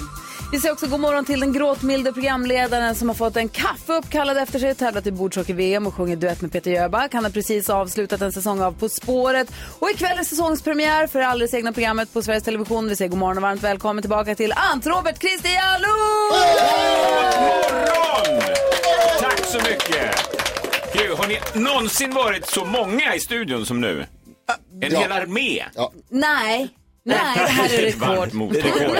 Speaker 1: Vi säger också god morgon till den gråtmilde programledaren som har fått en kaffe uppkallad efter sig, tävlat i bordshockey-VM och sjunger duett med Peter Jöback. Han har precis avslutat en säsong av På spåret. Och ikväll är säsongspremiär för det alldeles egna programmet på Sveriges Television. Vi säger god morgon och varmt välkommen tillbaka till Ant-Robert Christian Luuk!
Speaker 15: Tack så mycket! Gud, har ni någonsin varit så många i studion som nu? En hel armé!
Speaker 1: Nej, nej, det här är
Speaker 15: Ett varmt
Speaker 1: rekord.
Speaker 15: motrekord.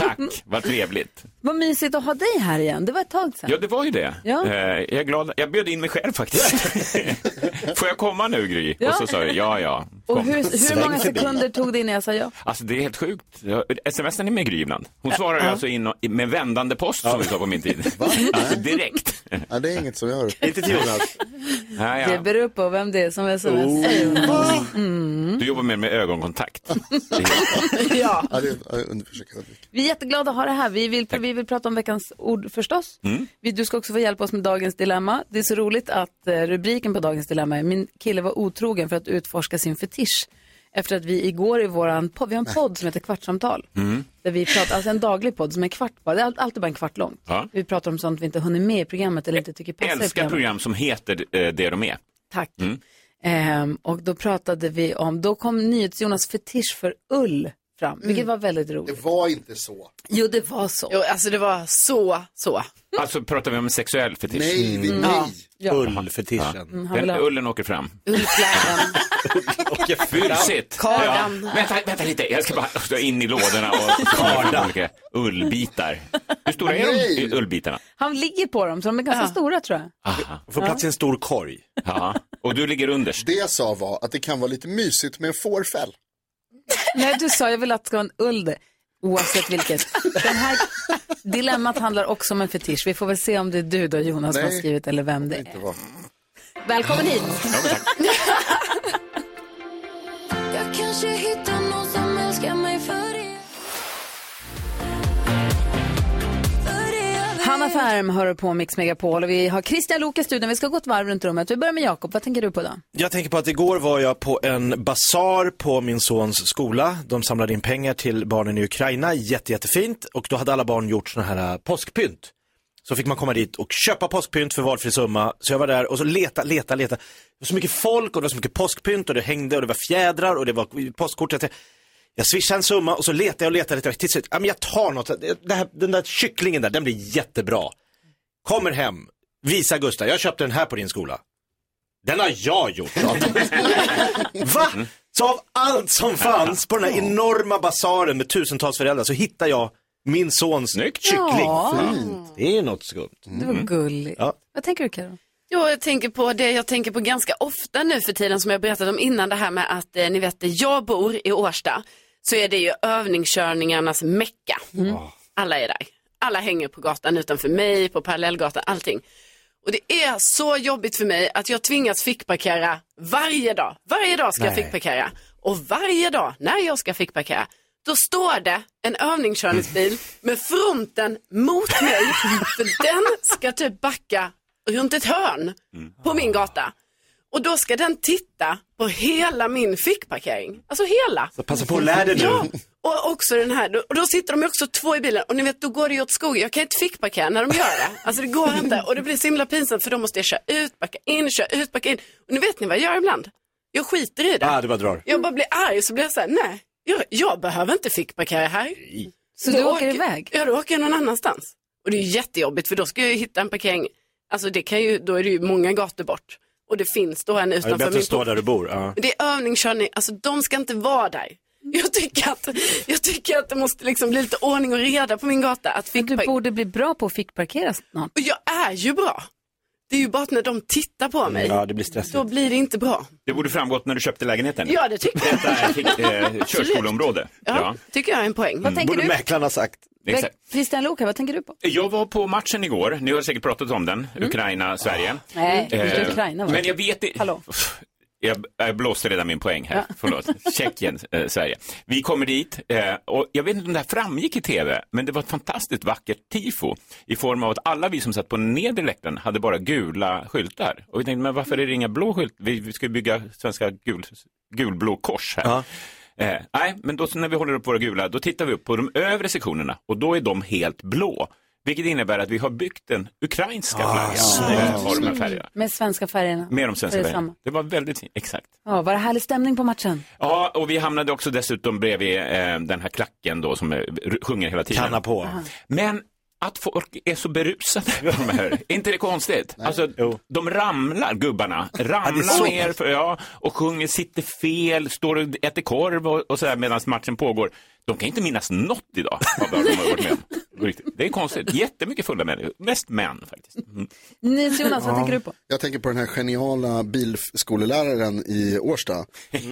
Speaker 15: Tack, vad trevligt.
Speaker 1: Vad mysigt att ha dig här igen. Det var ett tag sedan.
Speaker 15: Ja, det var ju det.
Speaker 1: Ja.
Speaker 15: Eh, Jag, är glad. jag bjöd in mig själv faktiskt. Får jag komma nu, Gry?
Speaker 1: Ja.
Speaker 15: Och så sa jag ja, ja.
Speaker 1: Och
Speaker 15: kom.
Speaker 1: hur, hur många sekunder tog det innan jag sa ja?
Speaker 15: Alltså det är helt sjukt. Smsar är med Gry ibland? Hon svarar ju
Speaker 1: Ja.
Speaker 15: alltså in och- med vändande post som vi sa på min tid. Alltså direkt.
Speaker 5: Nej, det är inget som jag hör.
Speaker 15: Inte till Jonas. Ja,
Speaker 1: Det
Speaker 15: ja. Oh.
Speaker 1: beror på vem det är som smsar. Mm.
Speaker 15: Du jobbar mer med ögonkontakt.
Speaker 1: Ja.
Speaker 5: Ja, det, jag försöker undvika.
Speaker 1: Vi är jätteglada att ha det här. Vi vill, vi vill prata om veckans ord förstås.
Speaker 5: Mm.
Speaker 1: Vi, du ska också få hjälpa oss med dagens dilemma. Det är så roligt att eh, rubriken på dagens dilemma är Min kille var otrogen för att utforska sin fetisch. Efter att vi igår i våran podd, vi har en podd som heter Kvartsamtal.
Speaker 11: Mm.
Speaker 1: Där vi pratar, alltså en daglig podd som är en kvart bara, det är all- alltid bara en kvart långt.
Speaker 15: Ja.
Speaker 1: Vi pratar om sånt vi inte hunnit med i programmet eller inte tycker passar i
Speaker 15: Älskar
Speaker 1: programmet.
Speaker 15: program som heter eh, det de är.
Speaker 1: Tack.
Speaker 15: Mm.
Speaker 1: Ehm, och då pratade vi om, då kom NyhetsJonas fetisch för ull fram, vilket var väldigt roligt.
Speaker 5: Det var inte så.
Speaker 1: Jo, Mm. det var så.
Speaker 6: Jo, alltså det var så, så.
Speaker 15: Alltså pratar vi om sexuell fetisch?
Speaker 5: Nej, vi- Mm.
Speaker 6: nej. Ja.
Speaker 15: Ullfetischen.
Speaker 6: Mm, han vill
Speaker 15: Den
Speaker 6: ha-
Speaker 15: ullen åker fram. Busigt.
Speaker 6: Kardan.
Speaker 15: Ja. Vänta, vänta lite, jag ska bara jag in i lådorna och karda olika ullbitar. Hur stora är de i ullbitarna?
Speaker 1: Han ligger på dem, så de är ganska stora tror jag.
Speaker 15: Aha.
Speaker 1: Får plats
Speaker 15: i en stor korg. Ja, och du ligger underst.
Speaker 5: Det jag sa var att det kan vara lite mysigt med en fårfäll.
Speaker 1: Nej, du sa jag vill att det ska vara en ull det, oavsett vilket. Den här dilemmat handlar också om en fetisch. Vi får väl se om det är du då Jonas som har
Speaker 5: Nej.
Speaker 1: skrivit eller vem det är.
Speaker 5: Det var...
Speaker 1: Välkommen hit!
Speaker 11: Jag kanske hittar någon som älskar mig för det.
Speaker 1: Hanna Färm hör på Mix Megapol och vi har Christian Luuk i studion. Vi ska gå ett varv runt rummet. Vi börjar med Jakob. Vad tänker du på då?
Speaker 3: Jag tänker på att igår var jag på en basar på min sons skola. De samlade in pengar till barnen i Ukraina, Jätte, jättefint. Och då hade alla barn gjort sådana här äh, påskpynt. Så fick man komma dit och köpa påskpynt för valfri summa. Så jag var där och så leta, leta, leta. Det var så mycket folk och det var så mycket påskpynt och det hängde och det var fjädrar och det var postkort. Jag tänkte, Jag swishade en summa och så letade jag och letade lite. Till slut, ja, men jag tar något. Det här, den där kycklingen där, den blir jättebra. Kommer hem, visar Gustav, jag köpte den här på din skola. Den har jag gjort. sa han. Va? Så av allt som fanns på den här enorma basaren med tusentals föräldrar så hittar jag min sons kyckling.
Speaker 1: Ja.
Speaker 3: Det är ju något skumt. Mm.
Speaker 1: Det var gulligt.
Speaker 3: Ja.
Speaker 1: Vad tänker du Karo?
Speaker 6: Jo, jag tänker på det jag tänker på ganska ofta nu för tiden som jag berättade om innan det här med att eh, ni vet där jag bor i Årsta så är det ju övningskörningarnas mecka. Alla är där. Alla hänger på gatan utanför mig, på parallellgatan, allting. Och det är så jobbigt för mig att jag tvingas fickparkera varje dag. Varje dag ska jag
Speaker 1: Nej.
Speaker 6: fickparkera. Och varje dag när jag ska fickparkera, då står det en övningskörningsbil med fronten mot mig. För den ska typ backa runt ett hörn på min gata. Och då ska den titta på hela min fickparkering. Alltså hela.
Speaker 3: Så passa på att lär dig nu.
Speaker 6: Ja, och också den här. Och då sitter de ju också två i bilen. Och ni vet, då går det ju åt skogen. Jag kan inte fickparkera när de gör det. Alltså det går inte. Och det blir så himla pinsamt för då måste jag köra ut, backa in, köra ut, backa in. Och nu vet ni vad jag gör ibland? Jag skiter i det.
Speaker 3: Ah, du bara drar.
Speaker 6: Jag bara blir arg så blir jag så här, nej, jag, jag behöver inte fickparkera här.
Speaker 1: Så du åker iväg?
Speaker 6: Ja, då åker jag någon annanstans. Och det är ju jättejobbigt för då ska jag ju hitta en parkering, alltså det kan ju, då är det ju många gator bort. Och det finns då en
Speaker 3: Ja, det är
Speaker 6: utanför
Speaker 3: bättre
Speaker 6: min
Speaker 3: att stå
Speaker 6: port.
Speaker 3: där du bor. Ja.
Speaker 6: Men Det är övningskörning, alltså de ska inte vara där. Jag tycker att, jag tycker att det måste liksom bli lite ordning och reda på min gata. Att fick...
Speaker 1: Du borde bli bra på att fickparkera snart.
Speaker 6: Och jag är ju bra. Det är ju bara att när de tittar på mig,
Speaker 15: Ja, det blir stressigt.
Speaker 6: då blir det inte bra.
Speaker 15: Det borde framgått när du köpte lägenheten.
Speaker 6: Ja, det tycker jag.
Speaker 15: Detta är fick- eh, körskoleområde.
Speaker 6: Ja, tycker jag är en
Speaker 5: Mm.
Speaker 6: poäng.
Speaker 1: Vad tänker Borde du?
Speaker 15: mäklarna sagt. Mm. Exakt.
Speaker 1: Christian Luuk, vad tänker du på?
Speaker 15: Jag var på matchen igår, ni har säkert pratat om den,
Speaker 1: Mm.
Speaker 15: Ukraina-Sverige.
Speaker 1: Nej,
Speaker 15: Eh,
Speaker 1: inte Ukraina va?
Speaker 15: Men jag vet inte.
Speaker 1: Hallå.
Speaker 15: Jag, jag blåste redan min poäng här,
Speaker 1: Ja.
Speaker 15: förlåt. Tjeckien, eh, Sverige. Vi kommer dit eh, och jag vet inte om det här framgick i tv, men det var ett fantastiskt vackert tifo i form av att alla vi som satt på nedre läktaren hade bara gula skyltar. Och vi tänkte, men varför är det inga blå skyltar? Vi, vi ska ju bygga svenska gul, gulblå kors här. Eh, nej, men då så när vi håller upp våra gula, då tittar vi upp på de övre sektionerna och då är de helt blå. Vilket innebär att vi har byggt den ukrainska flaggan. eh, har de här färgerna.
Speaker 1: Med svenska färgerna.
Speaker 15: Med de svenska
Speaker 1: Är det
Speaker 15: färgerna.
Speaker 1: samma?
Speaker 15: Det var väldigt fint, exakt.
Speaker 1: Ja, var det härlig stämning på matchen?
Speaker 15: Ja, och vi hamnade också dessutom bredvid eh, den här klacken då som eh, r- sjunger hela tiden. Kanna
Speaker 3: på.
Speaker 15: Men att folk är så berusade av de här, är inte det konstigt? Alltså, de ramlar, gubbarna,
Speaker 3: det är så.
Speaker 15: ramlar ner för, ja, och sjunger, sitter fel, står och äter korv och, och sådär medan matchen pågår. De kan inte minnas något idag av vad de har varit med om. Riktigt. Det är konstigt, jättemycket fulla människor, mest män faktiskt. Mm.
Speaker 1: Nils Jonas, Alltså,
Speaker 5: Ja.
Speaker 1: vad tänker du på?
Speaker 5: Jag tänker på den här geniala bilskoleläraren i Årsta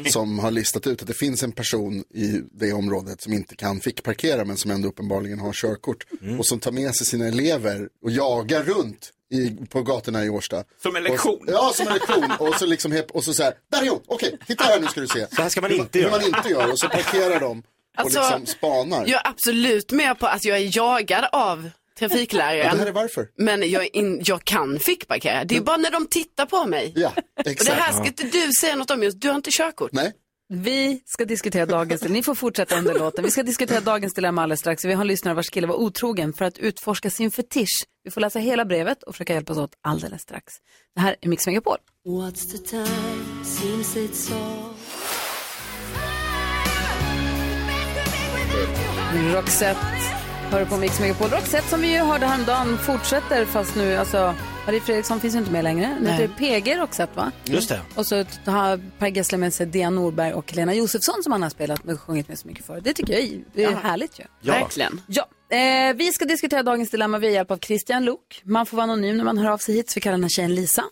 Speaker 5: som har listat ut att det finns en person i det området som inte kan fick parkera men som ändå uppenbarligen har körkort och som tar med sig sina elever och jagar runt i, på gatorna i Årsta.
Speaker 15: Som en lektion.
Speaker 5: Och, ja, som en lektion. Och så liksom hep, och så, så här, där är hon, okej, titta här nu ska du se. Så här ska
Speaker 3: man inte
Speaker 5: hur,
Speaker 3: göra.
Speaker 5: Hur man inte gör och så parkerar de och
Speaker 6: Alltså,
Speaker 5: liksom spanar.
Speaker 6: Jag är absolut med på att jag är jagad av
Speaker 5: Ja, det här
Speaker 6: trafikläraren.
Speaker 5: är varför. Mm.
Speaker 6: Men jag, är in, jag kan fickparkera. Det är bara när de tittar på mig.
Speaker 5: Ja,
Speaker 6: Och det här ska inte du säga något om just. Du har inte körkort.
Speaker 5: Nej.
Speaker 1: Vi ska diskutera dagens dilemma. Ni får fortsätta under låten. Vi ska diskutera dagens dilemma alldeles strax. Vi har en lyssnare vars kille var otrogen för att utforska sin fetisch. Vi får läsa hela brevet och försöka hjälpas åt alldeles strax. Det här är Mix Megapol.
Speaker 11: What's the time? Seems it's all
Speaker 1: Roxette hör du på Mix Megapol. Roxette som vi ju hörde häromdagen fortsätter fast nu, alltså Marie Fredriksson finns ju inte med längre. Nu heter det PG Roxette va?
Speaker 3: Mm. Just det.
Speaker 1: Och så har Per Gessle med sig Dian Norberg och Lena Josefsson som han har spelat med och sjungit med så mycket för. Det tycker jag är, det är
Speaker 6: Ja.
Speaker 1: härligt ju.
Speaker 6: Ja. Verkligen.
Speaker 1: Ja. Eh, vi ska diskutera dagens dilemma via hjälp av Christian Lok. Man får vara anonym när man hör av sig hit så vi kallar den här tjejen Lisa.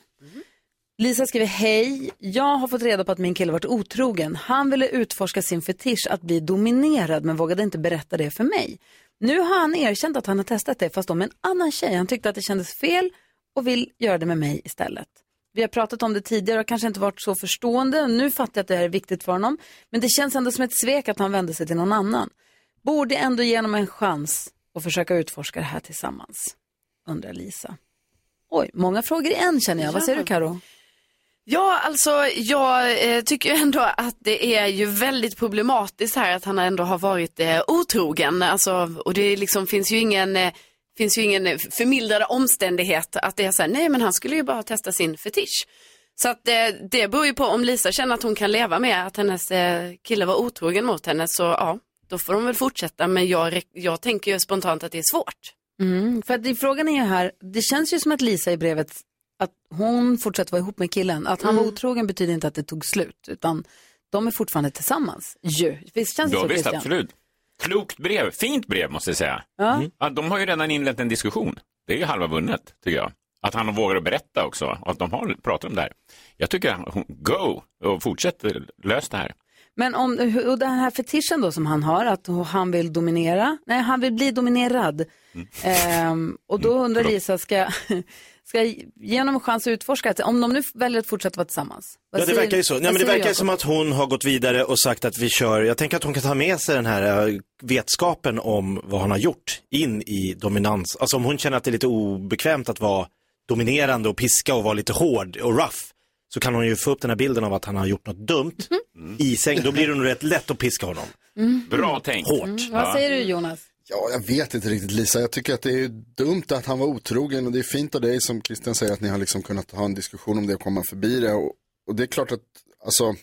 Speaker 1: Lisa skriver, hej, jag har fått reda på att min kille varit otrogen. Han ville utforska sin fetisch att bli dominerad men vågade inte berätta det för mig. Nu har han erkänt att han har testat det fast om en annan tjej. Han tyckte att det kändes fel och vill göra det med mig istället. Vi har pratat om det tidigare och kanske inte varit så förstående. Nu fattar jag att det här är viktigt för honom. Men det känns ändå som ett svek att han vände sig till någon annan. Borde ändå ge honom en chans och försöka utforska det här tillsammans, undrar Lisa. Oj, många frågor i en känner jag. Vad säger
Speaker 6: Ja.
Speaker 1: du Karo?
Speaker 6: Ja, alltså jag eh, tycker ju ändå att det är ju väldigt problematiskt här att han ändå har varit eh, otrogen. Alltså, och det liksom finns ju ingen, eh, finns ju ingen eh, förmildrad omständighet att det är så här, nej men han skulle ju bara testa sin fetisch. Så att eh, det beror ju på om Lisa känner att hon kan leva med att hennes eh, kille var otrogen mot henne så ja, då får de väl fortsätta men jag, re- jag tänker ju spontant att det är svårt.
Speaker 1: Mm, för att det- frågan är ju här, det känns ju som att Lisa i brevet, att hon fortsätter vara ihop med killen. Att han var otrogen betyder inte att det tog slut, utan de är fortfarande tillsammans. Ju. Visst känns det
Speaker 15: Ja,
Speaker 1: så
Speaker 15: visst,
Speaker 1: Christian?
Speaker 15: absolut. Klokt brev, fint brev måste jag säga. Mm.
Speaker 1: Ja.
Speaker 15: Ja, de har ju redan inlett en diskussion. Det är ju halva vunnet, tycker jag. Att han vågar berätta också och att de har, pratar om det här. Jag tycker, han- hon- go och fortsätt, lös det här.
Speaker 1: Men om, och den här fetischen då som han har, att han vill dominera, nej han vill bli dominerad.
Speaker 15: Mm.
Speaker 1: Ehm, och då undrar Lisa, ska, jag- ska jag ge honom en chans att utforska, att om de nu väljer att fortsätta vara tillsammans? Vad
Speaker 3: Ja, det
Speaker 1: säger-
Speaker 3: verkar ju så.
Speaker 1: vad
Speaker 3: Nej, men det
Speaker 1: säger
Speaker 3: verkar
Speaker 1: Jakob?
Speaker 3: som att hon har gått vidare och sagt att vi kör, jag tänker att hon kan ta med sig den här eh, vetskapen om vad han har gjort in i dominans. Alltså om hon känner att det är lite obekvämt att vara dominerande och piska och vara lite hård och rough, så kan hon ju få upp den här bilden av att han har gjort något dumt i säng. Då blir det nog rätt lätt att piska honom.
Speaker 1: Mhm. Mm.
Speaker 15: Bra tänkt.
Speaker 3: Hårt.
Speaker 1: Mm, vad säger du Jonas?
Speaker 5: Ja, jag vet inte riktigt Lisa. Jag tycker att det är dumt att han var otrogen och det är fint av dig som Christian säger att ni har liksom kunnat ha en diskussion om det och komma förbi det. Och, och det är klart att, alltså,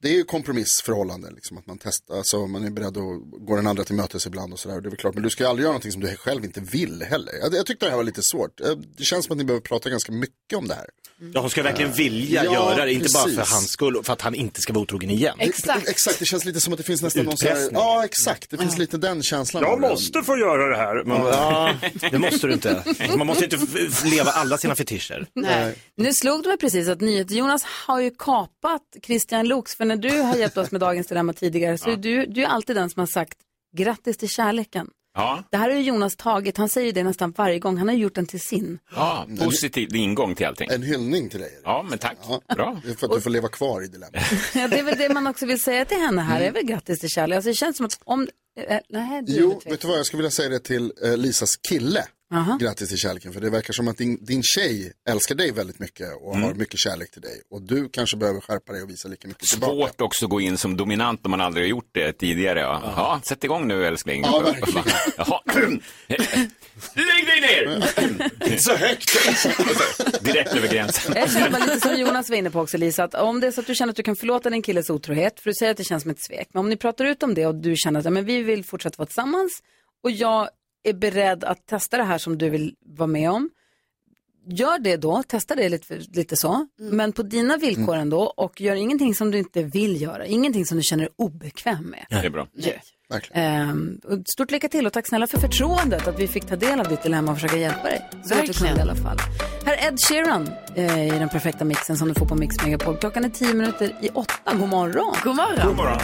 Speaker 5: det är ju kompromissförhållanden, liksom, att man testar, alltså, man är beredd att gå den andra till mötes ibland och sådär. Och Det är väl klart, men du ska ju aldrig göra någonting som du själv inte vill heller. Jag, jag tyckte det här var lite svårt. Eh, Det känns som att ni behöver prata ganska mycket om det här.
Speaker 3: Mm. Ja, hon ska verkligen
Speaker 5: Eh,
Speaker 3: vilja
Speaker 5: ja,
Speaker 3: göra det, inte bara för
Speaker 5: precis.
Speaker 3: hans skull, och för att han inte ska vara otrogen igen.
Speaker 5: Exakt. Det, exakt, det känns lite som att det finns nästan någon sån här,
Speaker 3: Utpressning.
Speaker 5: ja exakt, det finns lite den känslan. av det.
Speaker 3: få göra det här.
Speaker 5: Man-
Speaker 3: Ja, det måste du inte. Man måste inte f- f- leva alla sina fetischer.
Speaker 1: Nej. Nu slog det mig precis att nyhet Jonas har ju kapat Christian Looks, för när du har hjälpt oss med Dagens Dilemma tidigare så
Speaker 15: Ja.
Speaker 1: är du, du är alltid den som har sagt grattis till kärleken.
Speaker 15: Ja,
Speaker 1: Det här har ju Jonas tagit, han säger ju det nästan varje gång, han har ju gjort den till sin.
Speaker 15: ja positiv ingång till allting. En
Speaker 5: hyllning till dig.
Speaker 15: Ja, men tack. Bra.
Speaker 5: För att du får leva kvar i dilemmat.
Speaker 1: Ja, det är väl det man också vill säga till henne här, det är väl grattis till kärlek. Alltså det känns som att om... eh, Nej, det är
Speaker 5: Jo, vet du vad, jag skulle vilja säga det till eh, Lisas kille.
Speaker 1: Aha.
Speaker 5: Grattis till kärleken, för det verkar som att din, din tjej älskar dig väldigt mycket och
Speaker 15: Mm.
Speaker 5: har mycket kärlek till dig. Och du kanske behöver skärpa dig och visa lika mycket tillbaka.
Speaker 15: Svårt också att gå in som dominant när man aldrig har gjort det tidigare. Ja, ja sätt igång nu älskling.
Speaker 5: Ja, verkligen.
Speaker 15: Jaha. Lägg dig ner!
Speaker 5: Så högt!
Speaker 15: Direkt över gränsen.
Speaker 1: Jag känner bara lite som Jonas var inne på också Lisa, att om det är så att du känner att du kan förlåta din killes otrohet, för du säger att det känns som ett svek, men om ni pratar ut om det och du känner att ja, men vi vill fortsätta vara tillsammans och jag är beredd att testa det här som du vill vara med om, gör det då, testa det lite, lite så, men på dina villkor ändå och gör ingenting som du inte vill göra, ingenting som du känner dig obekväm med.
Speaker 15: Det är bra.
Speaker 1: Ehm, och stort lycka till och tack snälla för förtroendet att vi fick ta del av ditt dilemma och försöka hjälpa dig. Så gott vi kunde i alla fall. Här är Ed Sheeran eh, i den perfekta mixen som du får på Mix Megapol. Klockan är tio minuter i åtta. God morgon. God morgon.
Speaker 15: God morgon.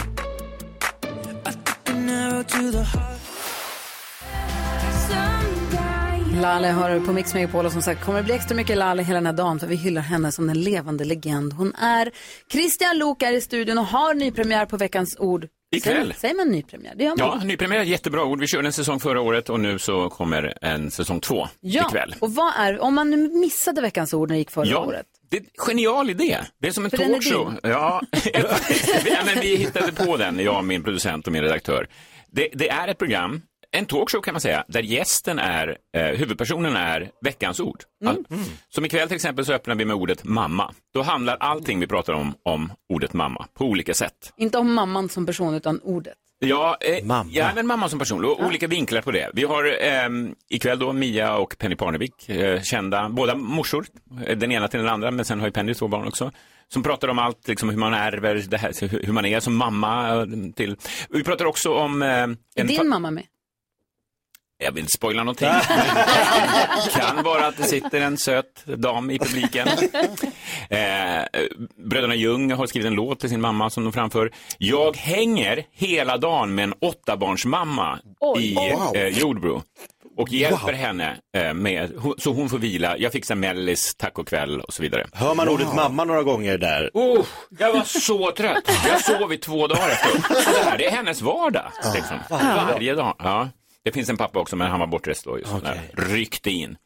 Speaker 1: Laleh hör du på Mix Megapol och som sagt kommer det bli extra mycket Laleh hela den här dagen för vi hyllar henne som den levande legend hon är. Christian Lok är i studion och har nypremiär på Veckans ord.
Speaker 15: Ikväll.
Speaker 1: Säger man- Säger man nypremiär? Det gör man.
Speaker 15: Ja, nypremiär, jättebra ord. Vi körde en säsong förra året och nu så kommer en säsong två
Speaker 1: Ja,
Speaker 15: ikväll.
Speaker 1: och vad är, om man nu missade Veckans ord när det gick förra
Speaker 15: ja,
Speaker 1: året.
Speaker 15: Det är en genial idé. Det är som en
Speaker 1: För den är
Speaker 15: talkshow. Ja, ja, men vi hittade på den, jag, min producent och min redaktör. Det, det är ett program, en talkshow kan man säga, där gästen är, eh, huvudpersonen är veckans ord.
Speaker 1: Mm.
Speaker 15: All, som ikväll till exempel så öppnar vi med ordet mamma. Då handlar allting vi pratar om om ordet mamma på olika sätt.
Speaker 1: Inte om mamman som person utan ordet.
Speaker 15: Ja, eh, mamma. ja men mamma som person. Och olika vinklar på det. Vi har ehm, ikväll då Mia och Penny Parnevik, eh, kända, båda morsor. eh, Den ena till den andra, men sen har ju Penny två barn också. Som pratar om allt, liksom, hur man ärver, det här, hur- hur man är som mamma. eh, Till. Vi pratar också om... eh, en
Speaker 1: Är
Speaker 15: fa-
Speaker 1: din mamma med?
Speaker 15: jag vill inte spoila någonting. kan vara att det sitter en söt dam i publiken. Eh, Bröderna Ljung har skrivit en låt till sin mamma som de framför. Jag hänger hela dagen med en åttabarnsmamma
Speaker 1: Oj.
Speaker 15: i
Speaker 1: Wow.
Speaker 15: eh, Jordbro och hjälper henne eh, med, hon- så hon får vila. Jag fixar mellis, tacokväll och så vidare.
Speaker 3: Hör man ordet mamma några gånger där?
Speaker 15: Oh, jag var så trött. Jag sov i två dagar efteråt. Så Det här det är hennes vardag. Liksom. Varje dag. Ja. Det finns en pappa också, men han var bortrest då. Just när ryckte in.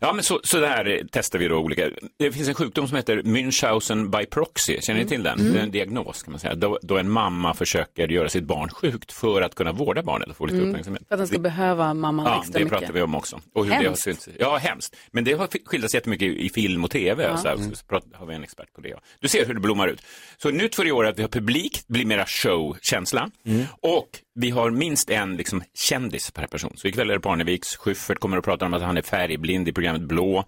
Speaker 15: Ja, men så, så där testar vi då olika. Det finns en sjukdom som heter Münchhausen by proxy. Känner ni till den?
Speaker 1: Mm.
Speaker 15: Det är en diagnos kan man säga. Då, då en mamma försöker göra sitt barn sjukt för att kunna vårda barnet och få lite uppmärksamhet.
Speaker 1: Mm. För att den ska behöva mamman
Speaker 15: Ja,
Speaker 1: extra
Speaker 15: det
Speaker 1: mycket.
Speaker 15: pratar vi om också. Och hur det har
Speaker 1: Hemskt.
Speaker 15: synts. Ja, hemskt. Men det har fi- skildrats jättemycket i i film och tv.
Speaker 1: Ja.
Speaker 15: Och så, här. så prat- har vi en expert på det. ja. Du ser hur det blommar ut. Så nytt för i år är att vi har publik, det blir mera showkänsla. Och vi har minst en liksom, kändis per person. Så ikväll är det Parneviks, Schyffert kommer att prata om att han är färgblind i programmet Blå.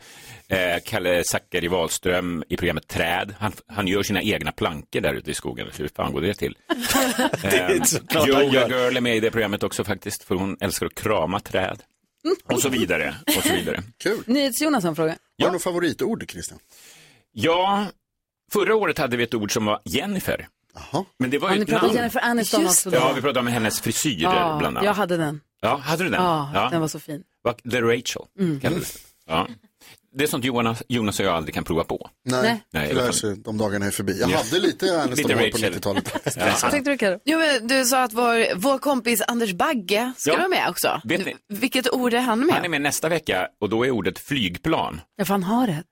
Speaker 15: Eh, Kalle Zackari Wahlström i programmet Träd. Han, han gör sina egna plankor där ute i skogen. Hur fan går det till?
Speaker 3: Det är
Speaker 15: Eh,
Speaker 3: såklart han
Speaker 15: Joja
Speaker 3: gör.
Speaker 15: Girl är med i det programmet också faktiskt, för hon älskar att krama träd. Och så vidare. Och så vidare.
Speaker 5: Kul.
Speaker 1: NyhetsJonas har en fråga.
Speaker 15: Vad är något favoritord, Christian? Ja, förra året hade vi ett ord som var Jennifer. Men det var
Speaker 1: Ja,
Speaker 15: ju
Speaker 1: ni
Speaker 15: ett
Speaker 1: pratade
Speaker 15: namn.
Speaker 1: Jennifer Aniston
Speaker 15: Just
Speaker 1: också
Speaker 15: det.
Speaker 1: då.
Speaker 15: Ja, vi pratade om hennes frisyrer
Speaker 1: Ja,
Speaker 15: bland annat.
Speaker 1: jag hade den.
Speaker 15: Ja, hade du den?
Speaker 1: Ja, den var så fin.
Speaker 15: Va- The Rachel
Speaker 1: Mm.
Speaker 15: kallades det. Ja. Det är sånt Jonas, Jonas och jag aldrig kan prova på.
Speaker 5: Nej,
Speaker 1: Nej.
Speaker 15: Nej
Speaker 5: tyvärr så de dagarna är förbi. Jag
Speaker 15: Ja.
Speaker 5: hade lite Aniston
Speaker 15: Lite
Speaker 5: hår på
Speaker 15: Rachel.
Speaker 5: 90-talet.
Speaker 15: Ja.
Speaker 5: Stressad.
Speaker 1: du Karo?
Speaker 6: Jo, men du sa att vår, vår kompis Anders Bagge skulle
Speaker 15: Ja.
Speaker 6: vara med också.
Speaker 15: Vet ni,
Speaker 6: Vilket ord är han med?
Speaker 15: han är med nästa vecka och då är ordet flygplan.
Speaker 1: Ja, för han har ett.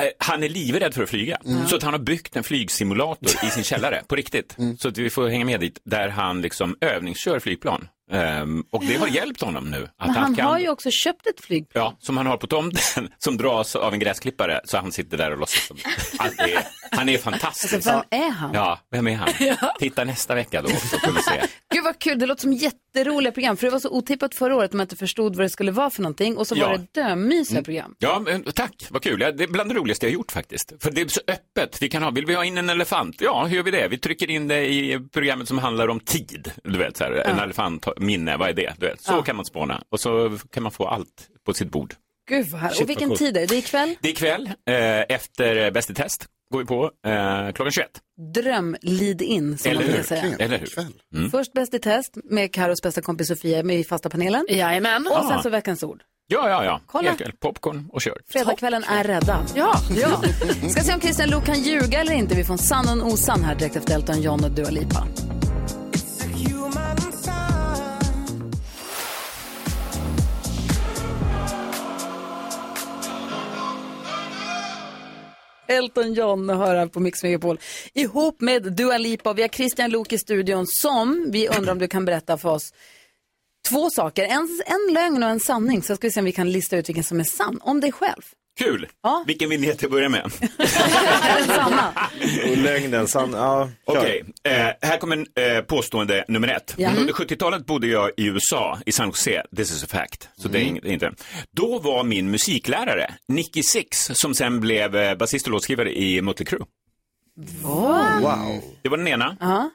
Speaker 15: Eh, Han är livrädd för att flyga.
Speaker 1: Mm.
Speaker 15: Så att han har byggt en flygsimulator i sin källare, på riktigt.
Speaker 1: Mm.
Speaker 15: Så att vi får hänga med dit, där han liksom övningskör flygplan. Ehm, och det har hjälpt honom nu. Att
Speaker 1: Men han
Speaker 15: kan,
Speaker 1: har ju också köpt ett flyg.
Speaker 15: Ja, som han har på tomten, som dras av en gräsklippare, så han sitter där och låtsas som... Han är, han är fantastisk.
Speaker 1: Alltså, vem är han?
Speaker 15: Ja, vem är han? Titta nästa vecka då också, får vi se.
Speaker 1: Gud vad kul, det låter som jätteroliga program. För det var så otippat förra året om jag inte förstod vad det skulle vara för någonting. Och så var
Speaker 15: Ja.
Speaker 1: det dömysiga
Speaker 15: Mm.
Speaker 1: program.
Speaker 15: Ja, men tack, vad kul. Ja, Det är bland det roligaste jag har gjort faktiskt. För det är så öppet. Vi kan ha, vill vi ha in en elefant? Ja, hur gör vi det? Vi trycker in det i programmet som handlar om tid. Du vet, så här, en elefant, minne, vad är det? Du vet, så kan man spåna. Och så kan man få allt på sitt bord.
Speaker 1: Gud vad härligt.
Speaker 15: Shit,
Speaker 1: Och vilken
Speaker 15: vad coolt.
Speaker 1: tid är det? Det är ikväll?
Speaker 15: Det är ikväll, eh, efter eh, Bäst i test, går vi på eh, klockan 21.
Speaker 1: Dröm lead in som man brukar säga.
Speaker 15: Eller hur? Mm.
Speaker 1: Först Bäst i test med Karos bästa kompis Sofia med i fasta panelen.
Speaker 6: Jajamän.
Speaker 1: Och sen
Speaker 15: Ja.
Speaker 1: så Veckans ord.
Speaker 15: Ja, ja, ja.
Speaker 1: Kolla.
Speaker 15: Helt kväll. Popcorn och kör.
Speaker 1: Fredagskvällen är räddad. Ja. ja. Ska se om Christian Luuk kan ljuga eller inte. Vi får en sann och en osann här direkt efter Elton John och Dua Lipa. Elton John hör här på Mix Megapol ihop med Dua Lipa och vi har Christian Luuk i studion som vi undrar om du kan berätta för oss två saker, en, en lögn och en sanning så ska vi se om vi kan lista ut vilken som är sann om dig själv.
Speaker 15: Kul! Vilken vignett till att börja med?
Speaker 3: Och lögnen, sann, ja. kör.
Speaker 15: Okej, eh, här kommer eh, påstående nummer ett.
Speaker 3: Ja.
Speaker 15: Under 70-talet bodde jag i USA, i San Jose, this is a fact. Så det är
Speaker 3: Mm.
Speaker 15: inget- inte. Då var min musiklärare, Nicky Six, som sen blev eh, basist och låtskrivare i Mötley Crüe. Det var den ena.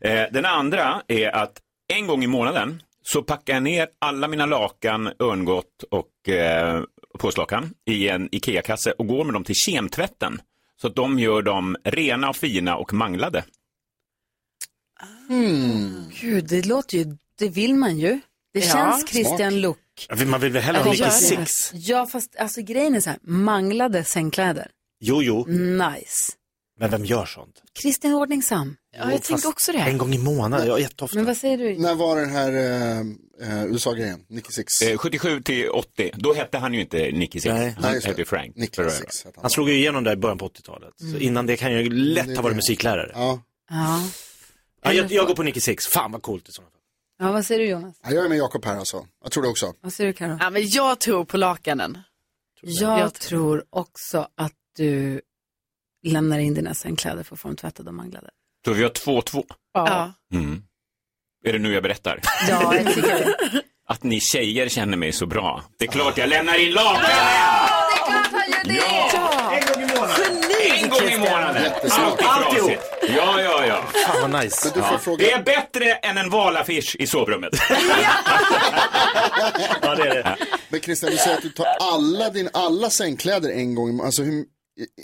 Speaker 15: Eh, den andra är att en gång i månaden så packar jag ner alla mina lakan, örngott och eh, påslakan i en IKEA-kasse och går med dem till kemtvätten. Så att de gör dem rena och fina och manglade.
Speaker 1: Gud, det låter ju, det vill man ju. Det
Speaker 6: Ja.
Speaker 1: känns Christian Luuk.
Speaker 3: Man vill väl hellre ha
Speaker 1: Att
Speaker 3: Nicky
Speaker 1: göra det.
Speaker 3: Six?
Speaker 1: Alltså, Ja, fast alltså grejen är så här, manglade sängkläder.
Speaker 3: Jo, jo.
Speaker 1: Mm. Nice.
Speaker 3: Men vem gör sånt?
Speaker 1: Christian Ordningsam.
Speaker 3: Jo, fast En gång i månaden, ja, jätteofta.
Speaker 1: Men vad säger du?
Speaker 5: När var den här eh, eh, USA-grejen? Nicky Six?
Speaker 15: Eh, 77 till 80, då hette han ju inte Nicky Six,
Speaker 3: Nej.
Speaker 15: han
Speaker 3: Nej, just
Speaker 15: hette Frank. Mm. Ferrero.
Speaker 3: Han slog ju igenom där i början på 80-talet. Så innan det kan jag ju lätt ha varit musiklärare.
Speaker 5: Ja.
Speaker 1: Ja.
Speaker 3: Ja, jag, jag går på Nicky Six, fan vad coolt i sådana fall.
Speaker 1: ja, vad säger du Jonas?
Speaker 5: Ja, jag är med Jakob här alltså. Jag tror det också.
Speaker 1: Vad säger du Karo?
Speaker 6: Ja, men jag tror på lakanen.
Speaker 1: Jag, tror också att du lämnar in dina sängkläder för att få dem tvättade och manglade.
Speaker 15: Så vi har 2-2.
Speaker 1: Ja.
Speaker 15: Mm. Är det nu jag berättar?
Speaker 1: Ja, jag tycker det.
Speaker 15: Att ni tjejer känner mig så bra. Det är klart jag lämnar in lakan!
Speaker 1: Ja! En gång i månaden.
Speaker 15: En gång i månaden. Alltid
Speaker 3: Alltihop.
Speaker 15: trasigt. Ja, ja, ja.
Speaker 3: Fan vad nice.
Speaker 15: Ja. Det är bättre än en valaffisch i sovrummet.
Speaker 3: ja, det är det.
Speaker 5: Men Christian, du säger att du tar alla, din, alla sängkläder en gång. i må- Alltså, hur,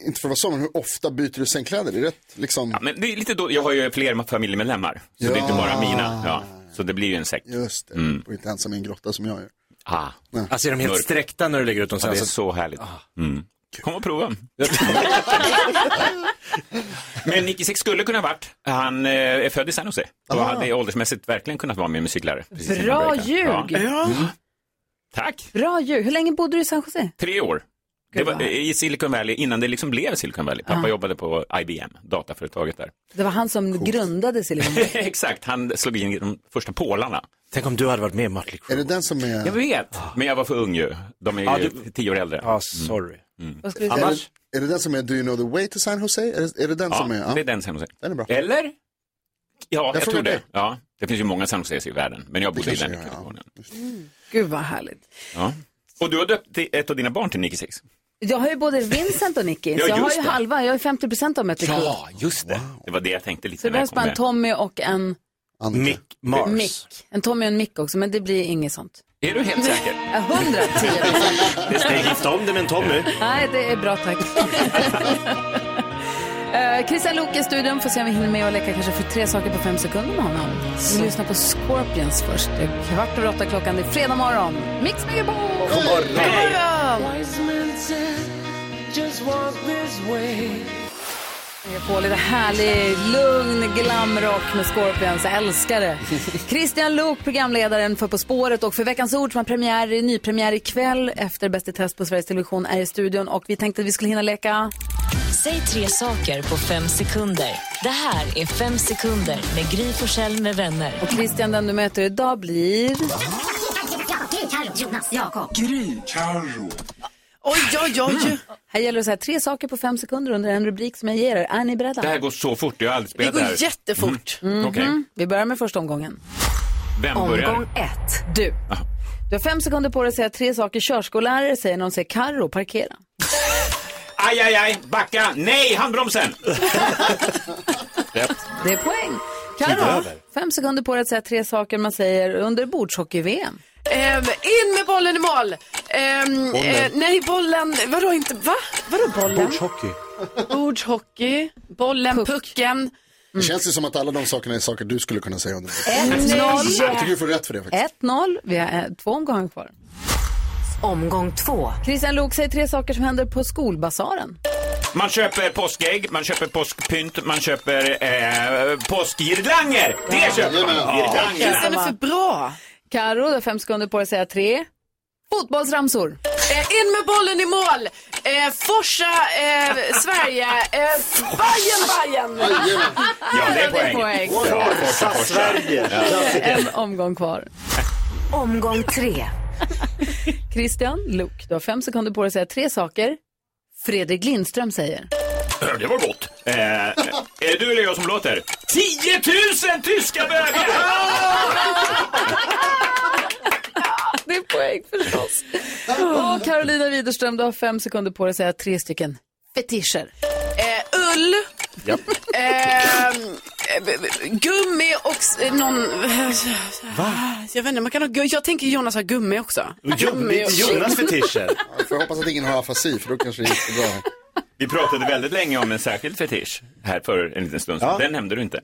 Speaker 5: inte för att vara så, men hur ofta byter du sängkläder? Det är rätt liksom...
Speaker 15: Ja, men det är lite då, jag har ju fler familjemedlemmar, så det är inte bara mina. Ja. Så det blir ju en säck.
Speaker 5: Just det,
Speaker 15: Mm.
Speaker 5: och inte ensam i en grotta som jag gör.
Speaker 15: Ah.
Speaker 3: Alltså är de helt
Speaker 15: Mörk.
Speaker 3: sträckta när du lägger ut dem sen? Alltså- Ah.
Speaker 15: Ja, det är
Speaker 3: så-
Speaker 15: så härligt. Mm. Kom och prova. Men Nicky Six skulle kunna ha varit, han eh, är född i San Jose och hade åldersmässigt verkligen kunnat vara min musiklärare. precis innan jag
Speaker 1: Bra
Speaker 15: började.
Speaker 1: ljug!
Speaker 15: Mm. Tack,
Speaker 1: Bra ljud. Hur länge bodde du i San Jose?
Speaker 15: tre år. Det var i Silicon Valley innan det liksom blev Silicon Valley. Pappa
Speaker 1: Ah.
Speaker 15: jobbade på IBM, dataföretaget där.
Speaker 1: Det var han som grundade Silicon Valley.
Speaker 15: Exakt, han slog in de första pålarna.
Speaker 3: Tänk om du hade varit med i Mötley Crüe.
Speaker 5: Är det den som är...
Speaker 15: Jag vet, men jag var för ung ju. De är ju
Speaker 3: Ja, du-
Speaker 15: tio år äldre.
Speaker 3: Ja, sorry.
Speaker 15: Mm.
Speaker 1: Vad ska vi
Speaker 5: Är det, är det den som är Do you know the way to San Jose? Är det, är det den
Speaker 15: Ja,
Speaker 5: som är?
Speaker 15: det är den San Jose.
Speaker 5: Den är bra.
Speaker 15: Eller? Ja,
Speaker 5: frågar
Speaker 15: jag, tror det.
Speaker 5: dig.
Speaker 15: Ja, det finns ju många San Jose i världen, men jag bodde i
Speaker 5: kanske
Speaker 15: den.
Speaker 5: jag
Speaker 15: kategorin.
Speaker 1: Gud vad härligt.
Speaker 15: Ja. Och du har döpt till- ett av dina barn till Nicky Six.
Speaker 1: Jag har ju både Vincent och Nicky,
Speaker 15: Ja,
Speaker 1: så jag har
Speaker 15: just
Speaker 1: ju
Speaker 15: det.
Speaker 1: halva, jag har ju 50 procent av Mötley Crüe.
Speaker 15: Ja, just det. Det var det jag tänkte lite
Speaker 1: Så det
Speaker 15: när jag
Speaker 1: behövs
Speaker 15: kom
Speaker 1: bara en
Speaker 15: med.
Speaker 1: Tommy och en
Speaker 3: Mick Mars.
Speaker 1: Mick. En Tommy och en Mick också, men det blir inget sånt.
Speaker 15: Är du helt säker?
Speaker 1: 110
Speaker 3: Det ska gifta om det med en Tommy.
Speaker 1: Nej, det är bra tack. Eh, Christian Luuk i studion, får se om vi hinner med att leka kanske för tre saker på fem sekunder med honom. Vi lyssnar på Scorpions först. Det är kvart över åtta klockan, det är fredag morgon. Mix Megapol!
Speaker 7: God morgon.
Speaker 1: God morgon!
Speaker 7: Wise men said, just walk this way.
Speaker 1: På lite härlig, lugn glamrock med Scorpions. Jag älskar det. Christian Luuk, programledaren för På spåret och för Veckans ord som har premiär, nypremiär ikväll efter Bäst i test på Sveriges Television är i studion och vi tänkte att vi skulle hinna leka
Speaker 14: Säg tre saker på fem sekunder. Det här är Fem sekunder med Gry Forssell med vänner.
Speaker 1: och Christian den du möter idag blir...
Speaker 14: Gry, Carro, Jonas, Jakob.
Speaker 1: Gry, Carro. Oj, oj, oj. Här gäller det så här, tre saker på fem sekunder under en rubrik som jag ger er. Är ni beredda?
Speaker 15: Det här går så fort, jag har aldrig spelat
Speaker 1: Det går
Speaker 15: här.
Speaker 1: jättefort.
Speaker 15: Mm.
Speaker 1: Mhm.
Speaker 15: Okej,
Speaker 1: Vi börjar med första omgången.
Speaker 15: vem börjar?
Speaker 1: ett. Du. Du har fem sekunder på dig att säga tre saker körskollärare säger när de säger Carro, parkera.
Speaker 15: Aj, aj, aj, backa! Nej, handbromsen! Rätt.
Speaker 1: Det är poäng.
Speaker 15: Tid
Speaker 1: Carro,
Speaker 15: över.
Speaker 1: fem sekunder på dig att säga tre saker man säger under bordshockey-VM.
Speaker 6: Ehm, in med bollen i mål! Ehm,
Speaker 1: Bollen.
Speaker 6: eh, nej, bollen, vadå inte, va? Vadå bollen?
Speaker 5: Bordshockey.
Speaker 6: Bordshockey, bollen, pucken.
Speaker 5: Det känns ju som att alla de sakerna är saker du skulle kunna säga om det.
Speaker 1: Ett, noll.
Speaker 5: Jag tycker du får rätt för det faktiskt.
Speaker 1: 1-0. Vi har eh, två omgångar kvar. Omgång två. Christian Luuk säger tre saker som händer på skolbasaren.
Speaker 15: Man köper påskägg, man köper påskpynt, man köper eh, påskgirlanger. Det köper man!
Speaker 1: Christian är
Speaker 15: Girlanger.
Speaker 1: för bra. Karo, du har fem sekunder på dig att säga tre. Fotbollsramsor.
Speaker 6: Eh, in med bollen i mål! Eh, Forsa, eh, Sverige, eh, Bajen, Bajen!
Speaker 15: Ja, det är
Speaker 1: Det är
Speaker 15: poäng.
Speaker 1: poäng.
Speaker 15: Bra, Forsa, Forsa.
Speaker 7: Sverige.
Speaker 15: Ja.
Speaker 1: En omgång kvar. Omgång tre. Christian Luuk, du har fem sekunder på dig att säga tre saker Fredrik Lindström säger.
Speaker 15: Det var gott. Eh, är du eller jag som låter? 10 000 tyska bögar!
Speaker 1: Det är poäng förstås. Och Carolina Widerström, du har fem sekunder på dig att säga tre stycken fetischer.
Speaker 6: Eh, ull,
Speaker 15: Ja.
Speaker 6: eh, b- b- gummi och s- eh, någon... Va? Jag vet inte, man kan ha, gu- jag tänker Jonas har gummi också.
Speaker 5: Ja, Får jag hoppas att ingen har afasi för då kanske det gick bra.
Speaker 15: Vi pratade väldigt länge om en särskild fetisch här för en liten stund sedan. Den nämnde du inte.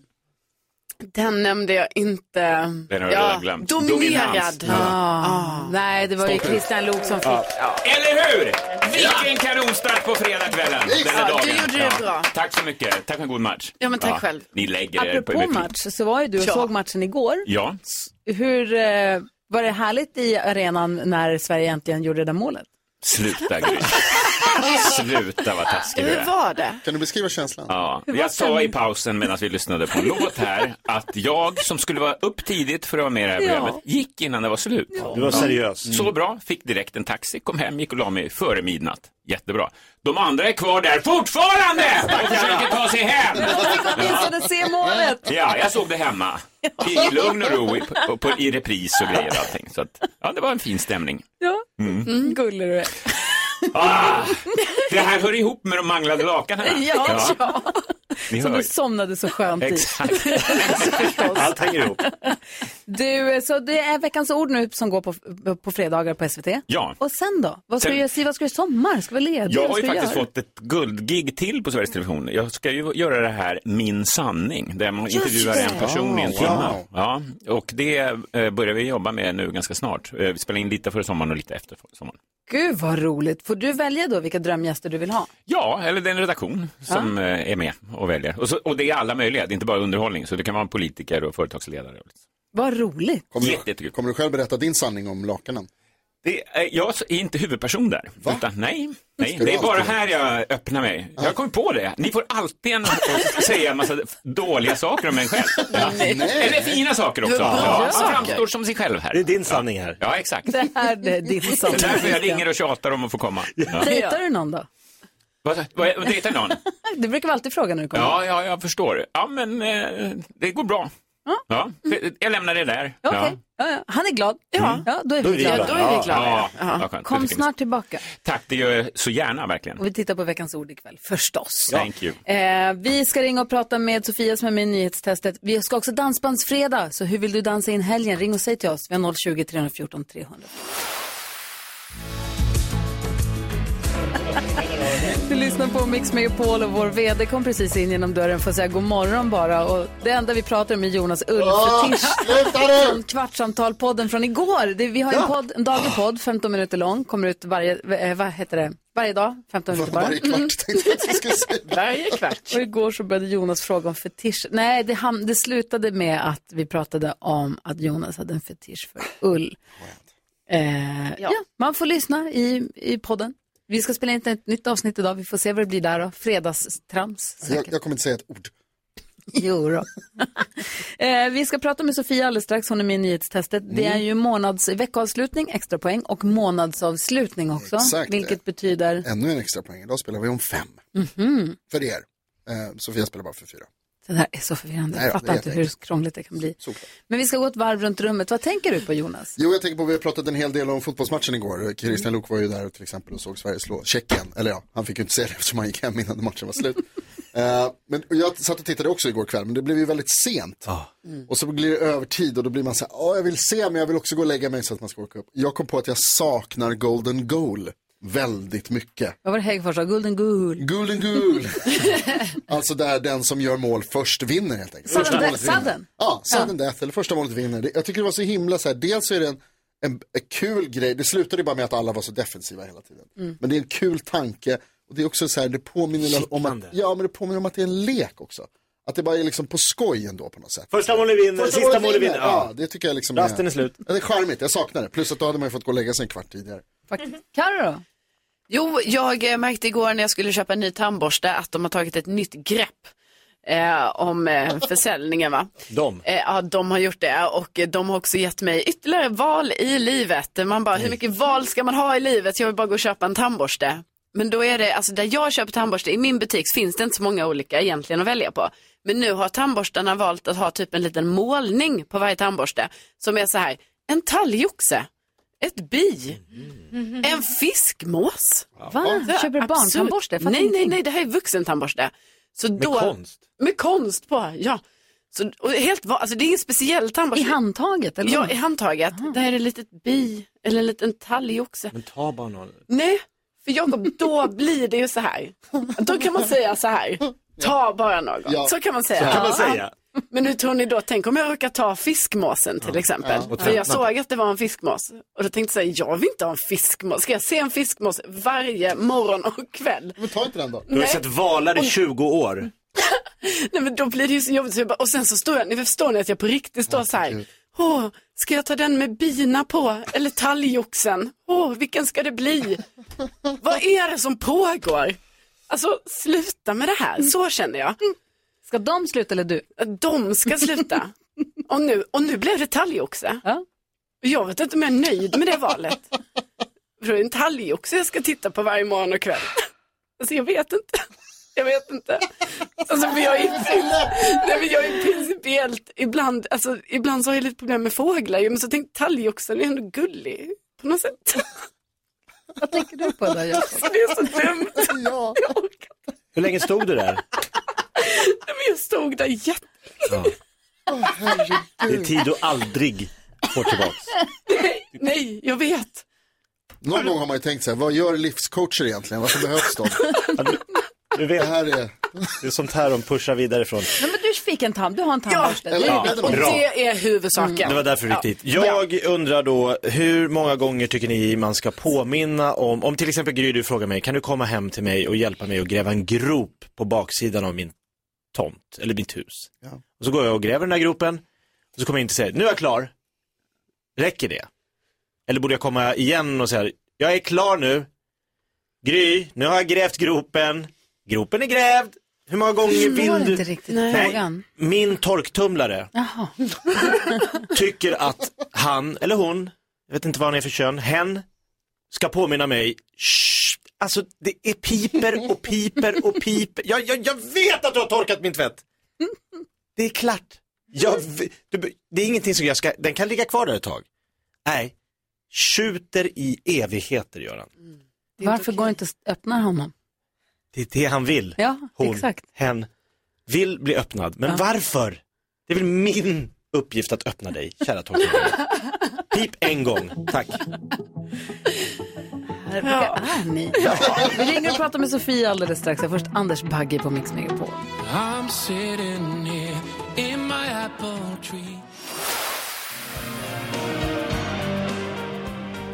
Speaker 6: Den nämnde jag inte.
Speaker 15: Den har jag redan glömt.
Speaker 6: Dominerad.
Speaker 15: Dominans.
Speaker 6: Ja.
Speaker 1: Ah.
Speaker 6: Ah.
Speaker 1: Nej, det var ju Christian Luuk som fick.
Speaker 15: Eller hur? Vilken kanonstart på fredagskvällen.
Speaker 1: Ja,
Speaker 15: den här
Speaker 1: du
Speaker 15: dagen.
Speaker 1: gjorde det bra.
Speaker 15: Tack så mycket. Tack för en god match.
Speaker 1: Ja, men tack själv.
Speaker 15: Ni lägger er
Speaker 1: Apropå
Speaker 15: på
Speaker 1: match så var ju du och såg matchen igår.
Speaker 15: Ja.
Speaker 1: Hur eh, var det härligt i arenan när Sverige äntligen gjorde det där målet?
Speaker 15: Sluta Gry. Sluta vad taskig du är.
Speaker 6: det?
Speaker 5: Kan du beskriva känslan?
Speaker 15: Ja, jag sa i pausen medan vi lyssnade på en låt här att jag som skulle vara upp tidigt för att vara med i det här
Speaker 3: Ja.
Speaker 15: programmet gick innan det var slut.
Speaker 3: Du var seriös.
Speaker 15: Ja. Så bra, fick direkt en taxi, kom hem, gick och la mig före midnatt. Jättebra. De andra är kvar där fortfarande och försöker ta sig hem.
Speaker 1: Åtminstone se målet!
Speaker 15: Ja, jag såg det hemma. I lugn och ro, i, på, på, i repris och grejer och allting. Så att, ja, det var en fin stämning.
Speaker 1: Ja,
Speaker 15: Mm.
Speaker 1: mm. gullig du är.
Speaker 15: Ah, det här hör ihop med de manglade lakanen.
Speaker 1: Ja, ja.
Speaker 15: ni
Speaker 1: Som
Speaker 15: hör.
Speaker 1: du somnade så skönt i.
Speaker 15: Exakt. Allt hänger ihop.
Speaker 1: Du, eh, så det är veckans ord nu som går på, på fredagar på SVT.
Speaker 15: Ja.
Speaker 1: Och sen då? Vad ska
Speaker 15: Sen-
Speaker 1: du göra? Siv, Vad ska du i sommar? Ska du vara ledig?
Speaker 15: Jag
Speaker 1: Vad
Speaker 15: har ju
Speaker 1: ska du
Speaker 15: faktiskt
Speaker 1: göra?
Speaker 15: fått ett guldgig till på Sveriges Television. Jag ska ju göra det här Min sanning, där man
Speaker 1: Just
Speaker 15: intervjuar
Speaker 1: det.
Speaker 15: en person i en
Speaker 1: Wow.
Speaker 15: timme. Ja, och det eh, börjar vi jobba med nu ganska snart. Eh, Vi spelar in lite före sommaren och lite efter sommaren.
Speaker 1: Gud vad roligt. Får du välja då vilka drömgäster du vill ha?
Speaker 15: Ja, eller det är en redaktion som eh, är med och väljer. Och, så, och det är alla möjliga, det är inte bara underhållning. Så det kan vara politiker och företagsledare.
Speaker 1: Vad roligt.
Speaker 15: Kommer du,
Speaker 5: kommer du själv berätta din sanning om lakanen?
Speaker 15: Det är, jag är inte huvudperson där. Utan, nej, nej.
Speaker 5: Ska du
Speaker 15: det är bara
Speaker 5: alltid-
Speaker 15: här jag öppnar mig. Jag kom på det. Ni får alltid en, säga en massa dåliga saker om en själv. Ja.
Speaker 1: Nej.
Speaker 15: Eller fina saker också.
Speaker 1: Det är bra
Speaker 15: Ja, man
Speaker 1: saker.
Speaker 15: framstår som sig själv här. Det är din sanning här. Ja, exakt.
Speaker 1: Det här är din
Speaker 15: Det är
Speaker 1: sommar.
Speaker 15: därför jag ringer och tjatar om att få komma. Ja.
Speaker 1: Dejtar du någon då?
Speaker 15: Vad, vad, dejtar någon?
Speaker 1: Du brukar väl alltid fråga när du kommer?
Speaker 15: Ja, ja, jag förstår. Ja, men eh, det går bra. Ja, jag lämnar det där.
Speaker 1: Ja, okej. Ja, ja. Han är glad. Ja.
Speaker 15: Mm.
Speaker 1: då är vi glada.
Speaker 15: Ja, Ja,
Speaker 1: Ja.
Speaker 15: vad skönt.
Speaker 1: Kom
Speaker 15: Det fick
Speaker 1: snart tillbaka.
Speaker 15: en- Tack, det gör jag så gärna verkligen.
Speaker 1: Och vi tittar på veckans ord ikväll, förstås.
Speaker 15: Thank you.
Speaker 1: Eh, vi ska ringa och prata med Sofia som är med i nyhetstestet. Vi ska också dansbandsfredag, så hur vill du dansa in helgen? Ring och säg till oss. Vi har 020 314 300. Du lyssnar på Mix Megapol och vår VD kom precis in genom dörren för att säga god morgon bara. Och det enda vi pratar om är Jonas Ulf
Speaker 16: Åh,
Speaker 1: Fetisch
Speaker 16: sluta nu!
Speaker 1: från Kvartsamtal-podden från igår. Det, vi har en, podd, en daglig podd, 15 minuter lång, kommer ut varje, eh, vad heter det? varje dag, 15 minuter bara.
Speaker 16: Varje kvart,
Speaker 1: tänkte jag att jag skulle säga. Varje kvart. Och igår så började Jonas fråga om fetisch. Nej, det, ham- det slutade med att vi pratade om att Jonas hade en fetisch för ull. Eh, ja. man får lyssna i, i podden. Vi ska spela in ett nytt avsnitt idag. Vi får se vad det blir där då. Fredagstrams.
Speaker 5: Jag, jag kommer inte säga ett ord.
Speaker 1: Jo då. eh, vi ska prata med Sofia alldeles strax. Hon är med i nyhetstestet. Det är ju månads, veckoavslutning, extra poäng och månadsavslutning också.
Speaker 5: Exakt.
Speaker 1: Vilket betyder...
Speaker 5: Ännu en extra poäng. Idag spelar vi om fem.
Speaker 1: Mhm.
Speaker 5: För er. Eh, Sofia spelar bara för fyra.
Speaker 1: Det här är så förvirrande.
Speaker 5: Nej då,
Speaker 1: Jag
Speaker 5: det är
Speaker 1: fattar inte hur
Speaker 5: jätteenkelt.
Speaker 1: krångligt det kan bli. Men vi ska gå ett varv runt rummet. Vad tänker du på Jonas?
Speaker 5: Jo, jag tänker på, vi har pratat en hel del om fotbollsmatchen igår. Christian Luuk var ju där till exempel och såg Sverige slå Tjeckien. Eller ja, han fick ju inte se det eftersom han gick hem innan matchen var slut. Eh, men och jag satt och tittade också igår kväll, men det blev ju väldigt sent. Mm. Och så blir det övertid och då blir man så här, ja jag vill se men jag vill också gå och lägga mig så att man ska åka upp. Jag kom på att jag saknar golden goal väldigt mycket.
Speaker 1: Vad var det Häggfors sa? Golden Gul.
Speaker 5: Golden Gul. Alltså där den som gör mål först vinner helt enkelt.
Speaker 1: Sudden
Speaker 5: Första
Speaker 1: death-
Speaker 5: målet vinner.
Speaker 1: sudden.
Speaker 5: Ja, sudden death, eller första målet vinner. Det- Jag tycker det var så himla så här, dels så är det en, en, en kul grej, det slutade ju bara med att alla var så defensiva hela tiden.
Speaker 16: Mm.
Speaker 5: Men det är en kul tanke och det är också så här, det påminner om att, ja, men det påminner om att det är en lek också. Att det bara är liksom på skoj ändå på något sätt.
Speaker 3: Första målet vinner,
Speaker 5: Första
Speaker 3: sista målet vinner.
Speaker 5: Ja.
Speaker 3: Ja.
Speaker 5: det tycker jag liksom
Speaker 3: Rasten är slut.
Speaker 5: Ja, Det är charmigt, jag saknar det. Plus att då hade man ju fått gå och lägga sig en kvart tidigare.
Speaker 1: Mm-hmm. Carro då?
Speaker 6: Jo, jag eh, märkte igår när jag skulle köpa en ny tandborste att de har tagit ett nytt grepp eh, om eh, försäljningen. Va?
Speaker 3: De.
Speaker 6: Eh, ja, de har gjort det och eh, de har också gett mig ytterligare val i livet. Man bara, hur mycket val ska man ha i livet? Jag vill bara gå och köpa en tandborste. Men då är det, alltså där jag köper tandborste, i min butik så finns det inte så många olika egentligen att välja på. Men nu har tandborstarna valt att ha typ en liten målning på varje tandborste som är så här, en talgoxe, ett bi,
Speaker 1: Mm-hmm.
Speaker 6: en fiskmås.
Speaker 1: Va?
Speaker 6: Så-
Speaker 1: Köper du barntandborste? Jag fattar
Speaker 6: Nej, nej,
Speaker 1: ingenting.
Speaker 6: nej, det här är vuxentandborste. Så
Speaker 1: Med
Speaker 6: då,
Speaker 1: konst?
Speaker 6: Med konst på, ja. Så, och helt, va- alltså det är ingen speciell tandborste.
Speaker 1: I handtaget? Eller
Speaker 6: Ja,
Speaker 1: vad?
Speaker 6: i handtaget. Där är det ett litet bi, eller en liten talg också.
Speaker 3: Men ta bara någon.
Speaker 6: Nej, för Jakob, då blir det ju så här. Då kan man säga så här. Ta bara något.
Speaker 3: Ja.
Speaker 6: Så kan man säga.
Speaker 3: Så kan man
Speaker 6: Ja.
Speaker 3: säga.
Speaker 6: Men hur tror ni då, tänk om jag råkar ta fiskmåsen till exempel.
Speaker 3: Ja. Och
Speaker 6: För jag
Speaker 3: trampna på-
Speaker 6: såg att det var en fiskmås. Och då tänkte jag, så här, jag vill inte ha en fiskmås. Ska jag se en fiskmås varje morgon och kväll?
Speaker 5: Men ta inte den då.
Speaker 3: Du har ju sett valar i 20 år.
Speaker 6: Nej men då blir det ju så jobbigt. Så jag bara, och sen så står jag, ni förstår ni att jag på riktigt står så här. Åh, ska jag ta den med bina på? Eller talgoxen? Åh, vilken ska det bli? Vad är det som pågår? Alltså sluta med det här, så känner jag.
Speaker 1: Ska de sluta eller du?
Speaker 6: De ska sluta. Och nu, och nu blev det talgoxe.
Speaker 1: Ja.
Speaker 6: Jag vet inte om jag är nöjd med det valet. För det är en talgoxe jag ska titta på varje morgon och kväll. Alltså jag vet inte. Jag vet inte. Alltså, men jag, är, nej, men jag är principiellt, ibland, alltså, ibland så har jag lite problem med fåglar ju, men så tänkte talgoxen är ändå gullig på något sätt.
Speaker 1: Vad tänker du på då Jakob?
Speaker 6: Alltså, det är så dumt.
Speaker 5: Ja.
Speaker 3: Hur länge stod du där?
Speaker 6: Men jag stod där jätte...
Speaker 3: Ja.
Speaker 6: Åh,
Speaker 3: Det är tid du aldrig får tillbaks.
Speaker 6: nej, nej, jag vet.
Speaker 5: Någon gång har man ju tänkt så här, vad gör livscoacher egentligen? Varför behövs de?
Speaker 3: Du vet.
Speaker 5: Det här är...
Speaker 3: Det är sånt här de pushar vidare från.
Speaker 1: Nej, men du fick en tand, du har en tandborste.
Speaker 3: eller- Ja,
Speaker 1: Det är-
Speaker 3: och bra. det
Speaker 6: är huvudsaken.
Speaker 3: Det var därför du gick dit. Jag undrar då, hur många gånger tycker ni man ska påminna om, om till exempel Gry du frågar mig, kan du komma hem till mig och hjälpa mig att gräva en grop på baksidan av min tomt, eller mitt hus? Och så går jag och gräver den där gropen, och så kommer jag in och säger, nu är jag klar. Räcker det? Eller borde jag komma igen och säga, jag är klar nu. Gry, nu har jag grävt gropen. Gropen är grävd. Hur många gånger
Speaker 1: Jag
Speaker 3: vill
Speaker 1: förstår
Speaker 3: du?
Speaker 1: Mm. inte riktigt
Speaker 3: Nej,
Speaker 1: frågan.
Speaker 3: Min torktumlare
Speaker 1: Jaha.
Speaker 3: tycker att han, eller hon, jag vet inte vad han är för kön, hen ska påminna mig, "Shh." alltså det är piper och piper och piper. Jag, jag, jag vet att du har torkat min tvätt. Det är klart. Jag, v- du, be- det är ingenting som jag ska, den kan ligga kvar där ett tag. Nej, skjuter i evigheter gör han.
Speaker 1: Varför går inte att öppna honom?
Speaker 3: Det är det han vill.
Speaker 1: Ja,
Speaker 3: Hon,
Speaker 1: exakt.
Speaker 3: hen, vill bli öppnad. Men
Speaker 1: Ja.
Speaker 3: varför? Det är väl min uppgift att öppna dig, kära Torsten. Pip en gång, tack.
Speaker 1: Här är ni. Vi ringer och pratar med Sofia alldeles strax. Först Anders Bagge på Mix Megapol.
Speaker 13: I'm sitting here in my apple tree.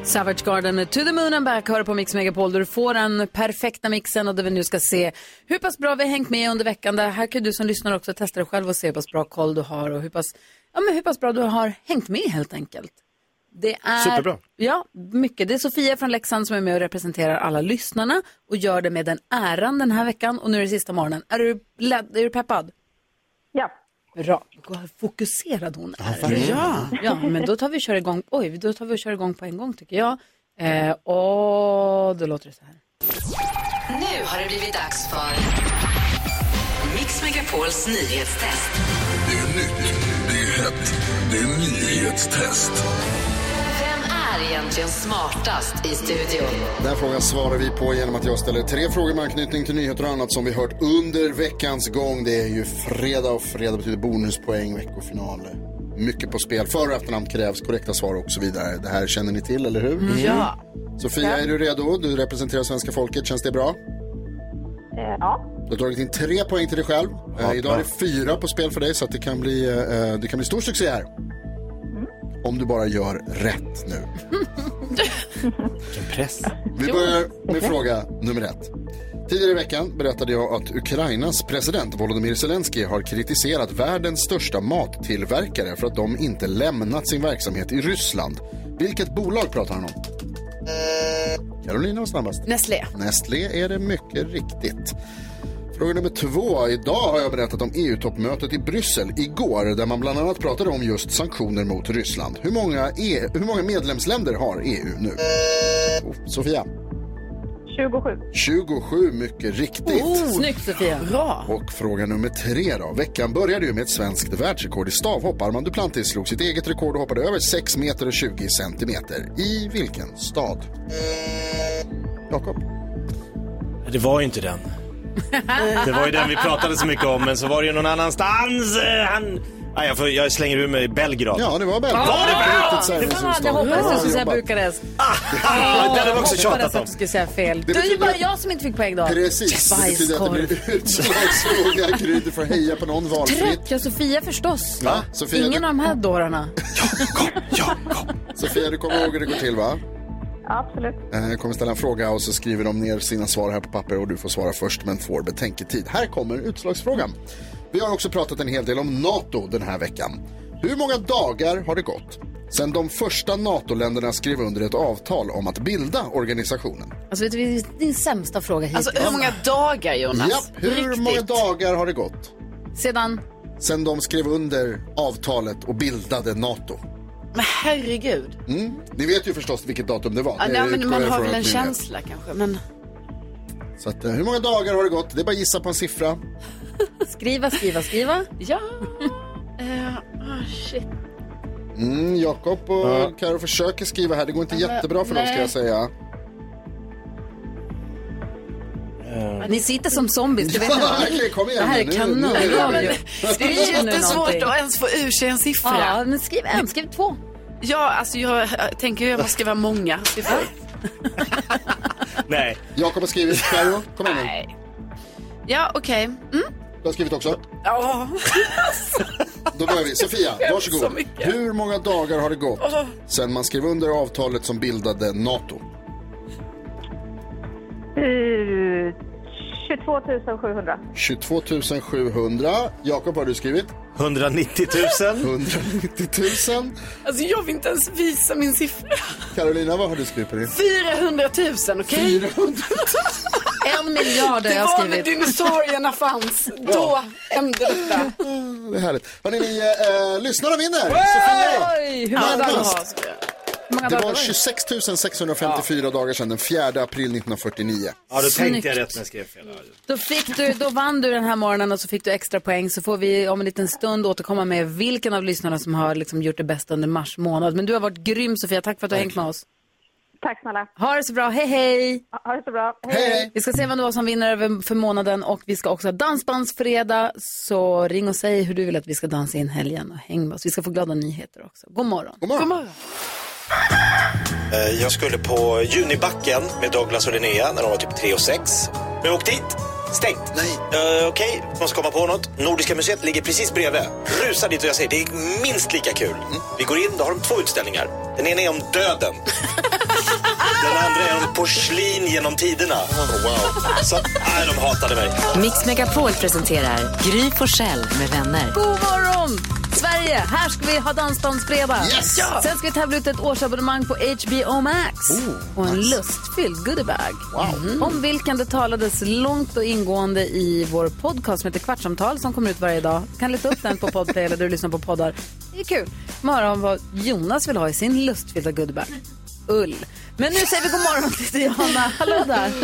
Speaker 1: Savage Garden med To the Moon and Back hör på Mix Megapol där du får den perfekta mixen och där vi nu ska se hur pass bra vi har hängt med under veckan. Där här kan du som lyssnar också testa dig själv och se hur pass bra koll du har och hur pass, ja, men hur pass bra du har hängt med helt enkelt. Det är,
Speaker 16: Superbra.
Speaker 1: Ja, mycket. Det är Sofia från Leksand som är med och representerar alla lyssnarna och gör det med den äran den här veckan och nu är det sista morgonen. Är du, led, är du peppad?
Speaker 17: Ja.
Speaker 1: Bra. Vad fokuserad hon är.
Speaker 17: verkligen. Ja.
Speaker 1: ja, men då tar vi och kör igång. Oj, då tar vi och kör igång på en gång tycker jag. Eh, och då låter det så här.
Speaker 9: Nu har det blivit dags för Mix Megapols nyhetstest.
Speaker 18: Det är nytt, det är hett, det är nyhetstest.
Speaker 9: Vem är egentligen smartast i studion?
Speaker 5: Den här frågan svarar vi på genom att jag ställer tre frågor med anknytning till nyheter och annat som vi hört under veckans gång. Det är ju fredag och fredag betyder bonuspoäng, veckofinaler. Mycket på spel. För och efternamn krävs, korrekta svar och så vidare. Det här känner ni till, eller hur?
Speaker 17: Mm. Ja.
Speaker 5: Sofia, är du redo? Du representerar svenska folket. Känns det bra?
Speaker 17: Eh, ja.
Speaker 5: Du har dragit in tre poäng till dig själv. Eh, idag är det fyra på spel för dig så att det kan bli, eh, det kan bli stor succé här. Om du bara gör rätt nu. Vilken
Speaker 3: press.
Speaker 5: Vi börjar med fråga nummer ett. Tidigare i veckan berättade jag att Ukrainas president Volodymyr Zelensky har kritiserat världens största mattillverkare för att de inte lämnat sin verksamhet i Ryssland. Vilket bolag pratar han om? Carolina var snabbast.
Speaker 6: Nestlé.
Speaker 5: Nestlé är det mycket riktigt. Fråga nummer två. Idag har jag berättat om EU-toppmötet i Bryssel igår där man bland annat pratade om just sanktioner mot Ryssland. Hur många, e- hur många medlemsländer har EU nu? Oh, Sofia?
Speaker 17: 27.
Speaker 5: 27, mycket riktigt.
Speaker 13: Oh,
Speaker 1: Snyggt Sofia.
Speaker 6: Bra.
Speaker 5: Och fråga nummer tre då. Veckan började ju med ett svenskt världsrekord i stavhopp. Armand Duplantis slog sitt eget rekord och hoppade över 6 meter och 20 centimeter. I vilken stad? Jakob?
Speaker 3: Det var ju inte den. Det var ju den vi pratade så mycket om, men så var det ju någon annanstans. eh, Han... Nej, jag, får, jag slänger ur mig Belgrad.
Speaker 5: Ja, det var
Speaker 3: Belgrad. Var det Belgrad? Det
Speaker 1: det
Speaker 3: var-
Speaker 1: Fan, jag hoppades du skulle säga
Speaker 5: jobbat.
Speaker 1: Bukarest.
Speaker 3: Ah, det hade vi också
Speaker 1: Jag hoppades
Speaker 3: tjatat
Speaker 1: att
Speaker 3: om.
Speaker 1: du skulle säga fel.
Speaker 5: Det
Speaker 1: Det är ju
Speaker 5: betyder-
Speaker 1: bara jag som inte fick poäng då.
Speaker 5: Precis, det betyder att det
Speaker 1: Bajskorv.
Speaker 5: blir utslagsfråga. Gry, du får heja på någon valfritt.
Speaker 1: Trött, ja Sofia förstås.
Speaker 5: Va? Sofia,
Speaker 1: Ingen
Speaker 5: du-
Speaker 1: av de här dårarna.
Speaker 5: Sofia, du kommer ihåg hur det går till va?
Speaker 17: Absolut.
Speaker 5: Eh, Jag kommer ställa en fråga och så skriver de ner sina svar här på papper och du får svara först men får betänketid. Här kommer utslagsfrågan. Vi har också pratat en hel del om NATO den här veckan. Hur många dagar har det gått sedan de första NATO-länderna skrev under ett avtal om att bilda organisationen?
Speaker 1: Alltså vet du, det är din sämsta fråga hittills.
Speaker 6: Alltså hur många dagar Jonas?
Speaker 5: Japp, hur många dagar har det gått
Speaker 1: Sedan,
Speaker 5: sedan de skrev under avtalet och bildade NATO?
Speaker 6: men herregud.
Speaker 5: Mm. Ni vet ju förstås vilket datum det var.
Speaker 6: Ja,
Speaker 5: Det
Speaker 6: nej,
Speaker 5: utgår
Speaker 6: men man
Speaker 5: jag
Speaker 6: har
Speaker 5: från
Speaker 6: väl en
Speaker 5: att ni vet.
Speaker 6: känsla kanske. Men
Speaker 5: Så att, eh, hur många dagar har det gått? Det är bara att gissa på en siffra.
Speaker 1: skriva, skriva, skriva.
Speaker 6: Ja. Eh, ah, shit.
Speaker 5: Mm, Jakob och Karo försöker skriva här. Det går inte
Speaker 6: Men,
Speaker 5: jättebra för dem ska
Speaker 6: nej.
Speaker 5: jag säga.
Speaker 1: Ni sitter som zombies, du vet
Speaker 6: Ja, verkligen. Kom igen
Speaker 1: Det här
Speaker 6: nu,
Speaker 1: är
Speaker 6: nu, nu är det-
Speaker 1: kanonradio.
Speaker 6: Det är
Speaker 1: Skriv nu
Speaker 6: jättesvårt
Speaker 1: någonting.
Speaker 6: att ens få ur sig en siffra.
Speaker 1: Ja, men skriv en, skriv två.
Speaker 6: Ja, alltså jag eh, tänker ju att man ska vara många. siffror.
Speaker 3: Nej.
Speaker 5: Jakob har skrivit. Karo, kom igen nu.
Speaker 6: Ja, okej. Mm.
Speaker 5: Du har skrivit också.
Speaker 6: Ja.
Speaker 5: Då börjar vi. Sofia, varsågod. Hur många dagar har det gått sedan man skrev under avtalet som bildade NATO?
Speaker 17: Eh, 22 700.
Speaker 5: 22 700. Jakob, vad har du skrivit?
Speaker 3: 190 000.
Speaker 5: 190 000.
Speaker 6: Alltså jag vill inte ens visa min siffra.
Speaker 5: Carolina, vad har du skrivit på din?
Speaker 6: 400 000, okej?
Speaker 5: 400 000.
Speaker 1: En miljard har
Speaker 6: Det
Speaker 1: jag
Speaker 6: var
Speaker 1: skrivit.
Speaker 6: när dinosaurierna fanns. Då hände detta.
Speaker 5: Det är härligt. Hörrni, ni, eh, lyssnarna vinner! Sofia!
Speaker 1: Oj, hur många dagar har
Speaker 5: Närmast.
Speaker 1: jag? många
Speaker 5: Det
Speaker 1: dagar
Speaker 5: var
Speaker 1: var det?
Speaker 5: 26 654 dagar sedan, den 4 april 1949.
Speaker 3: Ja, då tänkte jag
Speaker 1: Snyggt.
Speaker 3: rätt när jag skrev fel.
Speaker 1: Då, fick du, då vann du den här morgonen och så fick du extra poäng. Så får vi om en liten stund återkomma med vilken av lyssnarna som har liksom gjort det bästa under mars månad. Men du har varit grym Sofia, tack för att du har hängt med oss.
Speaker 17: Tack snälla.
Speaker 1: Ha det så bra, hej hej!
Speaker 17: Ha det så bra.
Speaker 1: Vi ska se vem det var som vinner över- för månaden och vi ska också ha dansbandsfredag. Så ring och säg hur du vill att vi ska dansa in helgen och häng med oss. Vi ska få glada nyheter också. God morgon! God morgon!
Speaker 3: Eh, Jag skulle på Junibacken med Douglas och Linnea när de var typ 3 och 6. Men jag åkte dit. Stängt. Nej. Okej, måste komma på något. Nordiska museet ligger precis bredvid. Rusar dit och jag säger det är minst lika kul. Vi går in, då har de två utställningar. Den ena är om döden. Den andra är om porslin genom tiderna. Oh, wow. Så, nej, de hatade mig.
Speaker 14: Mix Megapol presenterar Gry Forssell med vänner.
Speaker 1: God morgon! Sverige, här ska vi ha dansbandsfredag.
Speaker 14: Yes! Ja!
Speaker 1: Sen ska vi tävla ut ett årsabonnemang på HBO Max
Speaker 14: Oh,
Speaker 1: och en
Speaker 14: nice.
Speaker 1: lustfylld goodiebag. Mm. Om vilken det talades långt och ingående i vår podcast som heter Kvartsamtal som kommer ut varje dag. Du kan leta upp den på Podplay eller där du lyssnar på poddar. Det är kul. Morgon om vad Jonas vill ha i sin lustfyllda goodiebag. Ull. Men nu säger vi god morgon till Diana. Hallå där.
Speaker 14: Mm.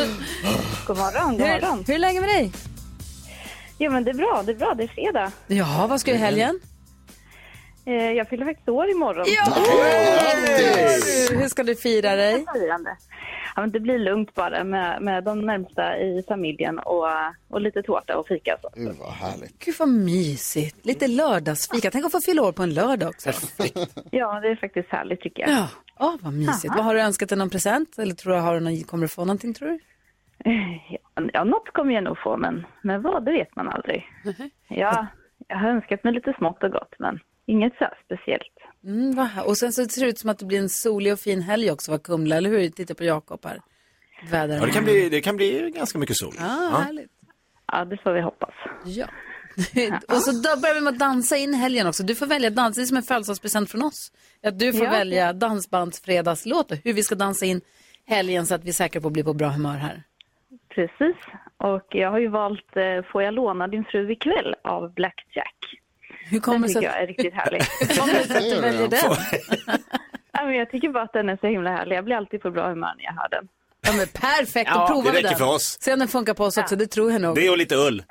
Speaker 17: God morgon, god morgon.
Speaker 1: Hur, hur är läget med dig?
Speaker 17: Jo men det är bra, det är bra. Det är fredag.
Speaker 1: Ja, vad ska du i helgen?
Speaker 17: Eh, Jag fyller faktiskt år imorgon.
Speaker 1: Ja! Hur ska du fira dig?
Speaker 17: Ja, men det blir lugnt bara med, med de närmsta i familjen och, och lite tårta och fika. Så.
Speaker 5: Gud vad härligt.
Speaker 1: Gud vad mysigt. Lite lördagsfika. Tänk att få fylla år på en lördag också.
Speaker 17: Ja, det är faktiskt härligt tycker jag.
Speaker 1: Ja, Åh, vad mysigt.
Speaker 17: Aha.
Speaker 1: Vad Har du önskat dig någon present? Eller tror du har du någon, kommer du få någonting tror du?
Speaker 17: Eh, Ja, något kommer jag nog få, men, men vad det vet man aldrig. Ja, jag har önskat mig lite smått och gott, men inget så här speciellt.
Speaker 1: Mm, vad här- och sen så ser det ut som att det blir en solig och fin helg också, vad Kumla, eller hur? Titta på Jakob här. Väder.
Speaker 3: Ja, det, kan bli, det kan bli ganska mycket sol.
Speaker 1: Ah,
Speaker 3: Ja.
Speaker 1: härligt.
Speaker 17: Ja, det får vi hoppas.
Speaker 1: Ja. och så då börjar vi med att dansa in helgen också. Du får välja dans, det är som en födelsedagspresent från oss. Att du får
Speaker 17: Ja.
Speaker 1: välja dansbandsfredagslåt och hur vi ska dansa in helgen så att vi är säkra på att bli på bra humör här.
Speaker 17: Precis. Och jag har ju valt eh, Får jag låna din fru ikväll av Blackjack.
Speaker 1: Hur
Speaker 17: den
Speaker 1: kommer det
Speaker 17: tycker
Speaker 1: sig att-
Speaker 17: jag är riktigt härlig.
Speaker 1: Hur kommer det sig att du väljer den?
Speaker 17: ja, men jag tycker bara att den är så himla härlig. Jag blir alltid på bra humör när jag hör den.
Speaker 1: Ja, men perfekt,
Speaker 3: Ja,
Speaker 1: då provar
Speaker 3: det
Speaker 1: vi
Speaker 3: räcker
Speaker 1: den.
Speaker 3: för oss.
Speaker 1: Se om den funkar på oss också, det tror jag nog.
Speaker 3: Det och lite ull.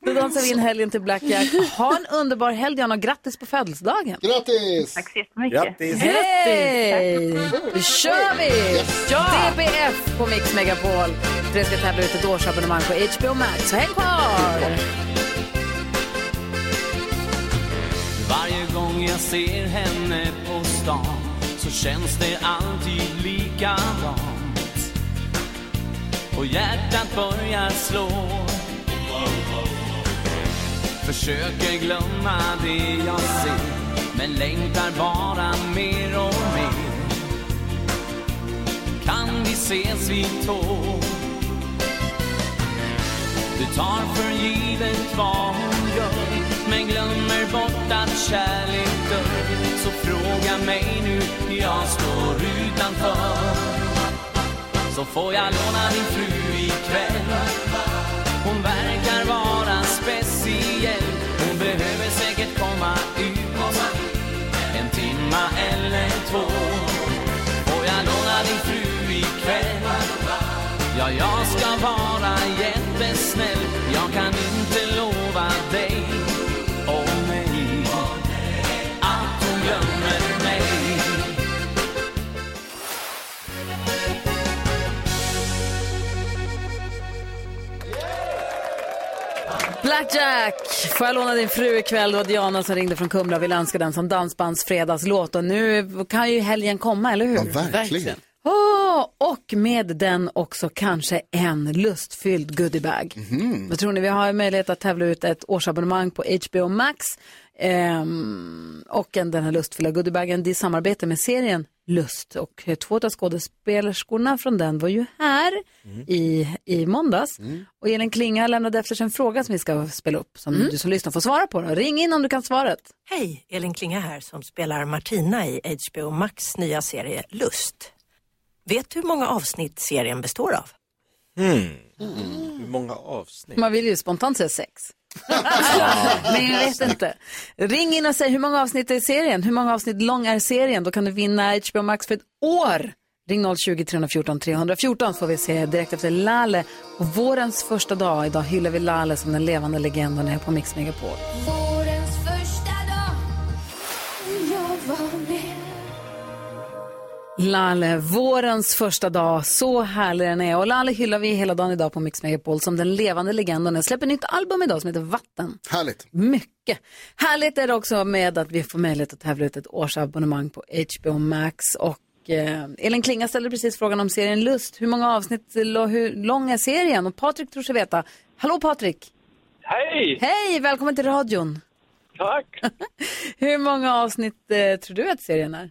Speaker 1: Då dansar vi in helgen till Blackjack. Ha en underbar helg, Diana, och grattis på födelsedagen.
Speaker 5: Grattis!
Speaker 17: Tack så jättemycket.
Speaker 1: Grattis! Hej! Nu kör vi! Ja! DBF på Mix Megapol. För det ska tävla ut ett årsabonnemang på HBO Max. Så häng kvar!
Speaker 13: Varje gång jag ser henne på stan så känns det alltid likadant och hjärtat börjar slå Försöker glömma det jag ser men längtar bara mer och mer Kan vi ses vid tå? Du tar för givet vad hon gör men glömmer bort att kärlek dör Så fråga mig nu, jag står utanför Så får jag låna din fru ikväll Hon verkar vara speciell Hon behöver säkert komma ut En timma eller två Får jag låna din fru ikväll Ja, jag ska vara jättesnäll Jag kan inte lova dig och mig att du glömmer mig
Speaker 1: Blackjack! Får jag låna din fru ikväll? Det var Diana som ringde från Kumla och ville önska den som dansbandsfredagslåt. Och nu kan ju helgen komma, eller hur? Ja,
Speaker 5: Verkligen.
Speaker 1: Åh, och med den också kanske en lustfylld goodiebag. Vad tror ni? Vi har ju möjlighet att tävla ut ett årsabonnemang på HBO Max ehm, och en, den här lustfyllda goodiebagen. Det är samarbete med serien Lust och eh, två av skådespelerskorna från den var ju här i, i måndags. Och Elin Klinga lämnade efter sig en fråga som vi ska spela upp som du som lyssnar får svara på. Då. Ring in om du kan svaret.
Speaker 16: Hej, Elin Klinga här som spelar Martina i HBO Max nya serie Lust. Vet du hur många avsnitt serien består av?
Speaker 3: Hmm. Hur många avsnitt?
Speaker 1: Man vill ju spontant säga sex. Men jag vet inte. Ring in och säg hur många avsnitt är serien? Hur många avsnitt lång är serien? Då kan du vinna HBO Max för ett år. Ring 020 314 314 får vi se direkt efter Lale. Och vårens första dag, idag hyllar vi Lale som den levande legenden här på Mix Megapol.
Speaker 11: Vårens första dag jag var med
Speaker 1: Lalle, vårens första dag, så härlig den är. Och Lalle hyllar vi hela dagen idag på Mix Megapol som den levande legenden. Jag släpper nytt album idag som heter Vatten.
Speaker 5: Härligt.
Speaker 1: Mycket. Härligt är det också med att vi får möjlighet att tävla ut ett årsabonnemang på HBO Max. Och eh, Elin Klinga ställde precis frågan om serien Lust. Hur många avsnitt, lo- hur lång är serien? Och Patrik tror sig veta. Hallå Patrik!
Speaker 12: Hej!
Speaker 1: Hej, välkommen till radion.
Speaker 12: Tack!
Speaker 1: Hur många avsnitt eh, tror du att serien är?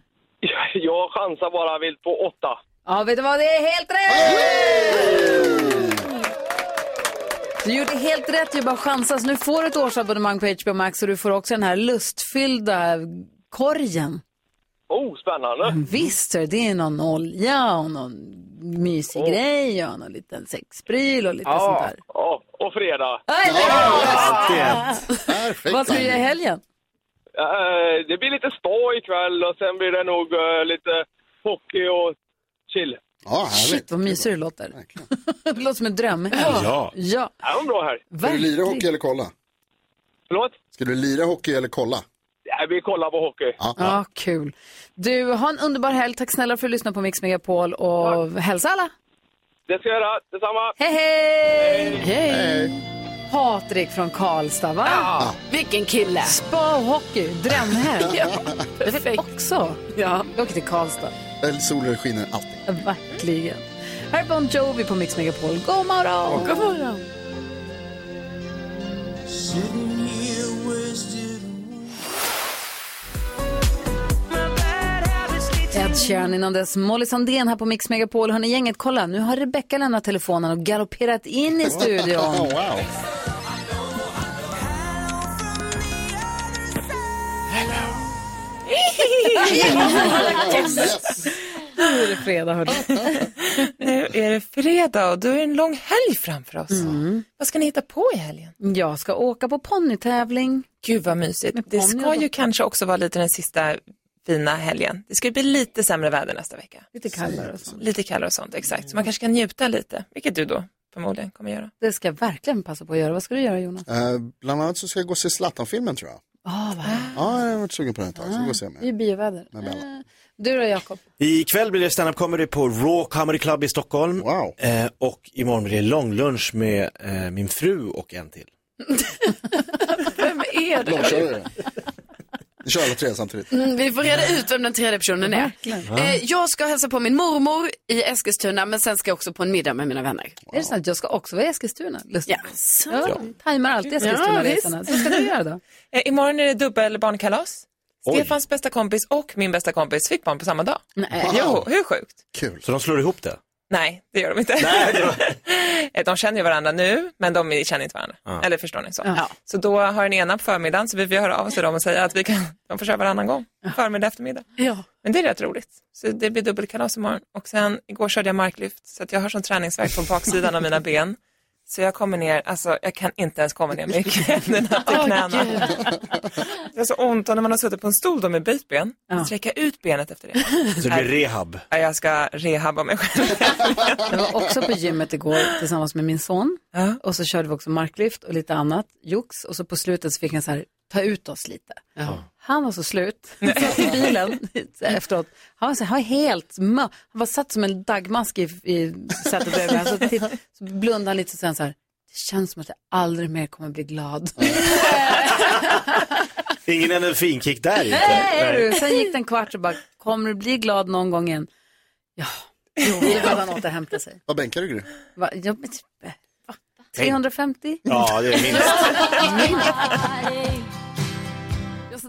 Speaker 12: Jag chansar bara vilt på åtta.
Speaker 1: Ja, vet du vad? Det är helt rätt! Du gjorde helt rätt, du bara chansa. Så nu får du ett årsabonnemang på HBO Max och du får också den här lustfyllda korgen.
Speaker 12: Oh, spännande!
Speaker 1: Mm, Visst, hör, det är någon olja och någon mysig grej och någon liten sexpryl och lite sånt där.
Speaker 12: ja, och fredag.
Speaker 5: Perfekt.
Speaker 1: Vad ska du göra i helgen?
Speaker 12: Eh, Det blir lite spa ikväll och sen blir det nog eh, lite hockey och chill.
Speaker 5: Ja,
Speaker 1: Shit, vad mysig du låter. det låter som en dröm.
Speaker 5: Ja.
Speaker 1: ja.
Speaker 12: Det var en bra här.
Speaker 5: Ska du lira hockey eller kolla?
Speaker 12: Förlåt?
Speaker 5: Ska du lira hockey eller kolla?
Speaker 12: Ja, Vi kollar på hockey.
Speaker 1: Ja, kul. Du, ha en underbar helg. Tack snälla för att du lyssnade på Mix Megapol och hälsa alla.
Speaker 12: Det ska jag göra. Detsamma.
Speaker 1: Hej, hej! Hej! Patrik från Karlstad, va?
Speaker 6: Ja. Vilken kille!
Speaker 1: Spa och hockey, drömhelg.
Speaker 6: Ja,
Speaker 1: det vet jag också. Ja. Vi åker till Karlstad,
Speaker 5: Eller solen skiner alltid.
Speaker 1: verkligen. Här är Bon Jovi på Mix Megapol. God morgon! God morgon!
Speaker 7: Sitting here wasted.
Speaker 1: Ed Sheeran innan dess. Molly Sandén här på Mix Megapol. Hörni gänget, kolla. Nu har Rebecca lämnat telefonen och galopperat in i studion.
Speaker 5: wow.
Speaker 1: Yes. Nu är det fredag, hörni.
Speaker 19: Nu är det fredag och då är det en lång helg framför oss.
Speaker 1: Mm.
Speaker 19: Vad ska ni hitta på i helgen?
Speaker 1: Jag ska åka på ponnytävling.
Speaker 19: Gud vad mysigt. Det ska ju kanske också vara lite den sista fina helgen. Det ska ju bli lite sämre väder nästa vecka.
Speaker 1: Lite kallare och sånt.
Speaker 19: Lite kallare och sånt, exakt. Så man kanske kan njuta lite, vilket du då förmodligen kommer göra.
Speaker 1: Det ska jag verkligen passa på att göra. Vad ska du göra, Jonas?
Speaker 5: Eh, bland annat så ska jag gå och se Zlatan-filmen tror jag.
Speaker 1: Ah, vad härligt.
Speaker 5: Ja, jag har varit sugen på den ett tag. Så jag går och ser
Speaker 1: Det är ju
Speaker 5: med.
Speaker 1: bioväder.
Speaker 5: med Bella.
Speaker 1: Du då, Jakob?
Speaker 3: Ikväll blir det stand-up comedy på Raw Comedy Club i Stockholm. Eh, och imorgon blir det långlunch med eh, min fru och en till.
Speaker 6: Vem är
Speaker 5: Långkörare. Vi kör alla tre samtidigt.
Speaker 6: Mm, vi får reda ut vem den tredje personen är.
Speaker 5: Ja.
Speaker 6: Eh, jag ska hälsa på min mormor i Eskilstuna men sen ska jag också på en middag med mina vänner.
Speaker 1: Är det sant? Jag ska också vara i Eskilstuna. Lustigt. Ja,
Speaker 6: Ja.
Speaker 1: Tajmar alltid Eskilstuna-resorna. Vad ska du göra då?
Speaker 19: Eh, Imorgon är det dubbel barnkalas.
Speaker 3: Oj.
Speaker 19: Stefans bästa kompis och min bästa kompis fick barn på samma dag.
Speaker 1: Nej.
Speaker 19: Jo, hur sjukt?
Speaker 5: Kul.
Speaker 3: Så de slår ihop det?
Speaker 19: Nej, det gör de inte. Eh, de känner ju varandra nu, men de känner inte varandra.
Speaker 3: Ja.
Speaker 19: Eller förstår ni så?
Speaker 1: Ja.
Speaker 19: Så då har den ena på förmiddagen, så vi får höra av oss till dem och säga att vi kan, de får köra varannan gång, förmiddag, eftermiddag.
Speaker 1: Ja.
Speaker 19: Men det är rätt roligt. Så det blir dubbelkalas imorgon. Och sen, igår körde jag marklyft, så att jag har sån träningsvärk på baksidan av mina ben. Så jag kommer ner, alltså jag kan inte ens komma ner mycket händerna till knäna. Det är så ont och när man har suttit på en stol då med böjt ben, sträcka ut benet efter det.
Speaker 3: Så det blir rehab.
Speaker 19: Ja, Jag ska rehabba mig själv.
Speaker 1: Jag var också på gymmet igår tillsammans med min son. Och så körde vi också marklyft och lite annat jox. Och så på slutet så fick han så här, ta ut oss lite. Han var så slut. Han satt i bilen efteråt. Han var, så, han var helt mö. Han var satt som en dagmask i, i sätet bredvid mig. Så, titt- så blundade han lite och sen så här, det känns som att jag aldrig mer kommer bli glad.
Speaker 3: Ingen endorfinkick där inte.
Speaker 1: Nej, du. Sen gick det en kvart och bara, kommer du bli glad någon gång igen? Ja, jo, det var han återhämta sig.
Speaker 5: Vad bänkar du Gry?
Speaker 1: Va, ja, men, typ, eh, va? 350?
Speaker 3: Ja, det är minst.
Speaker 1: Ja, så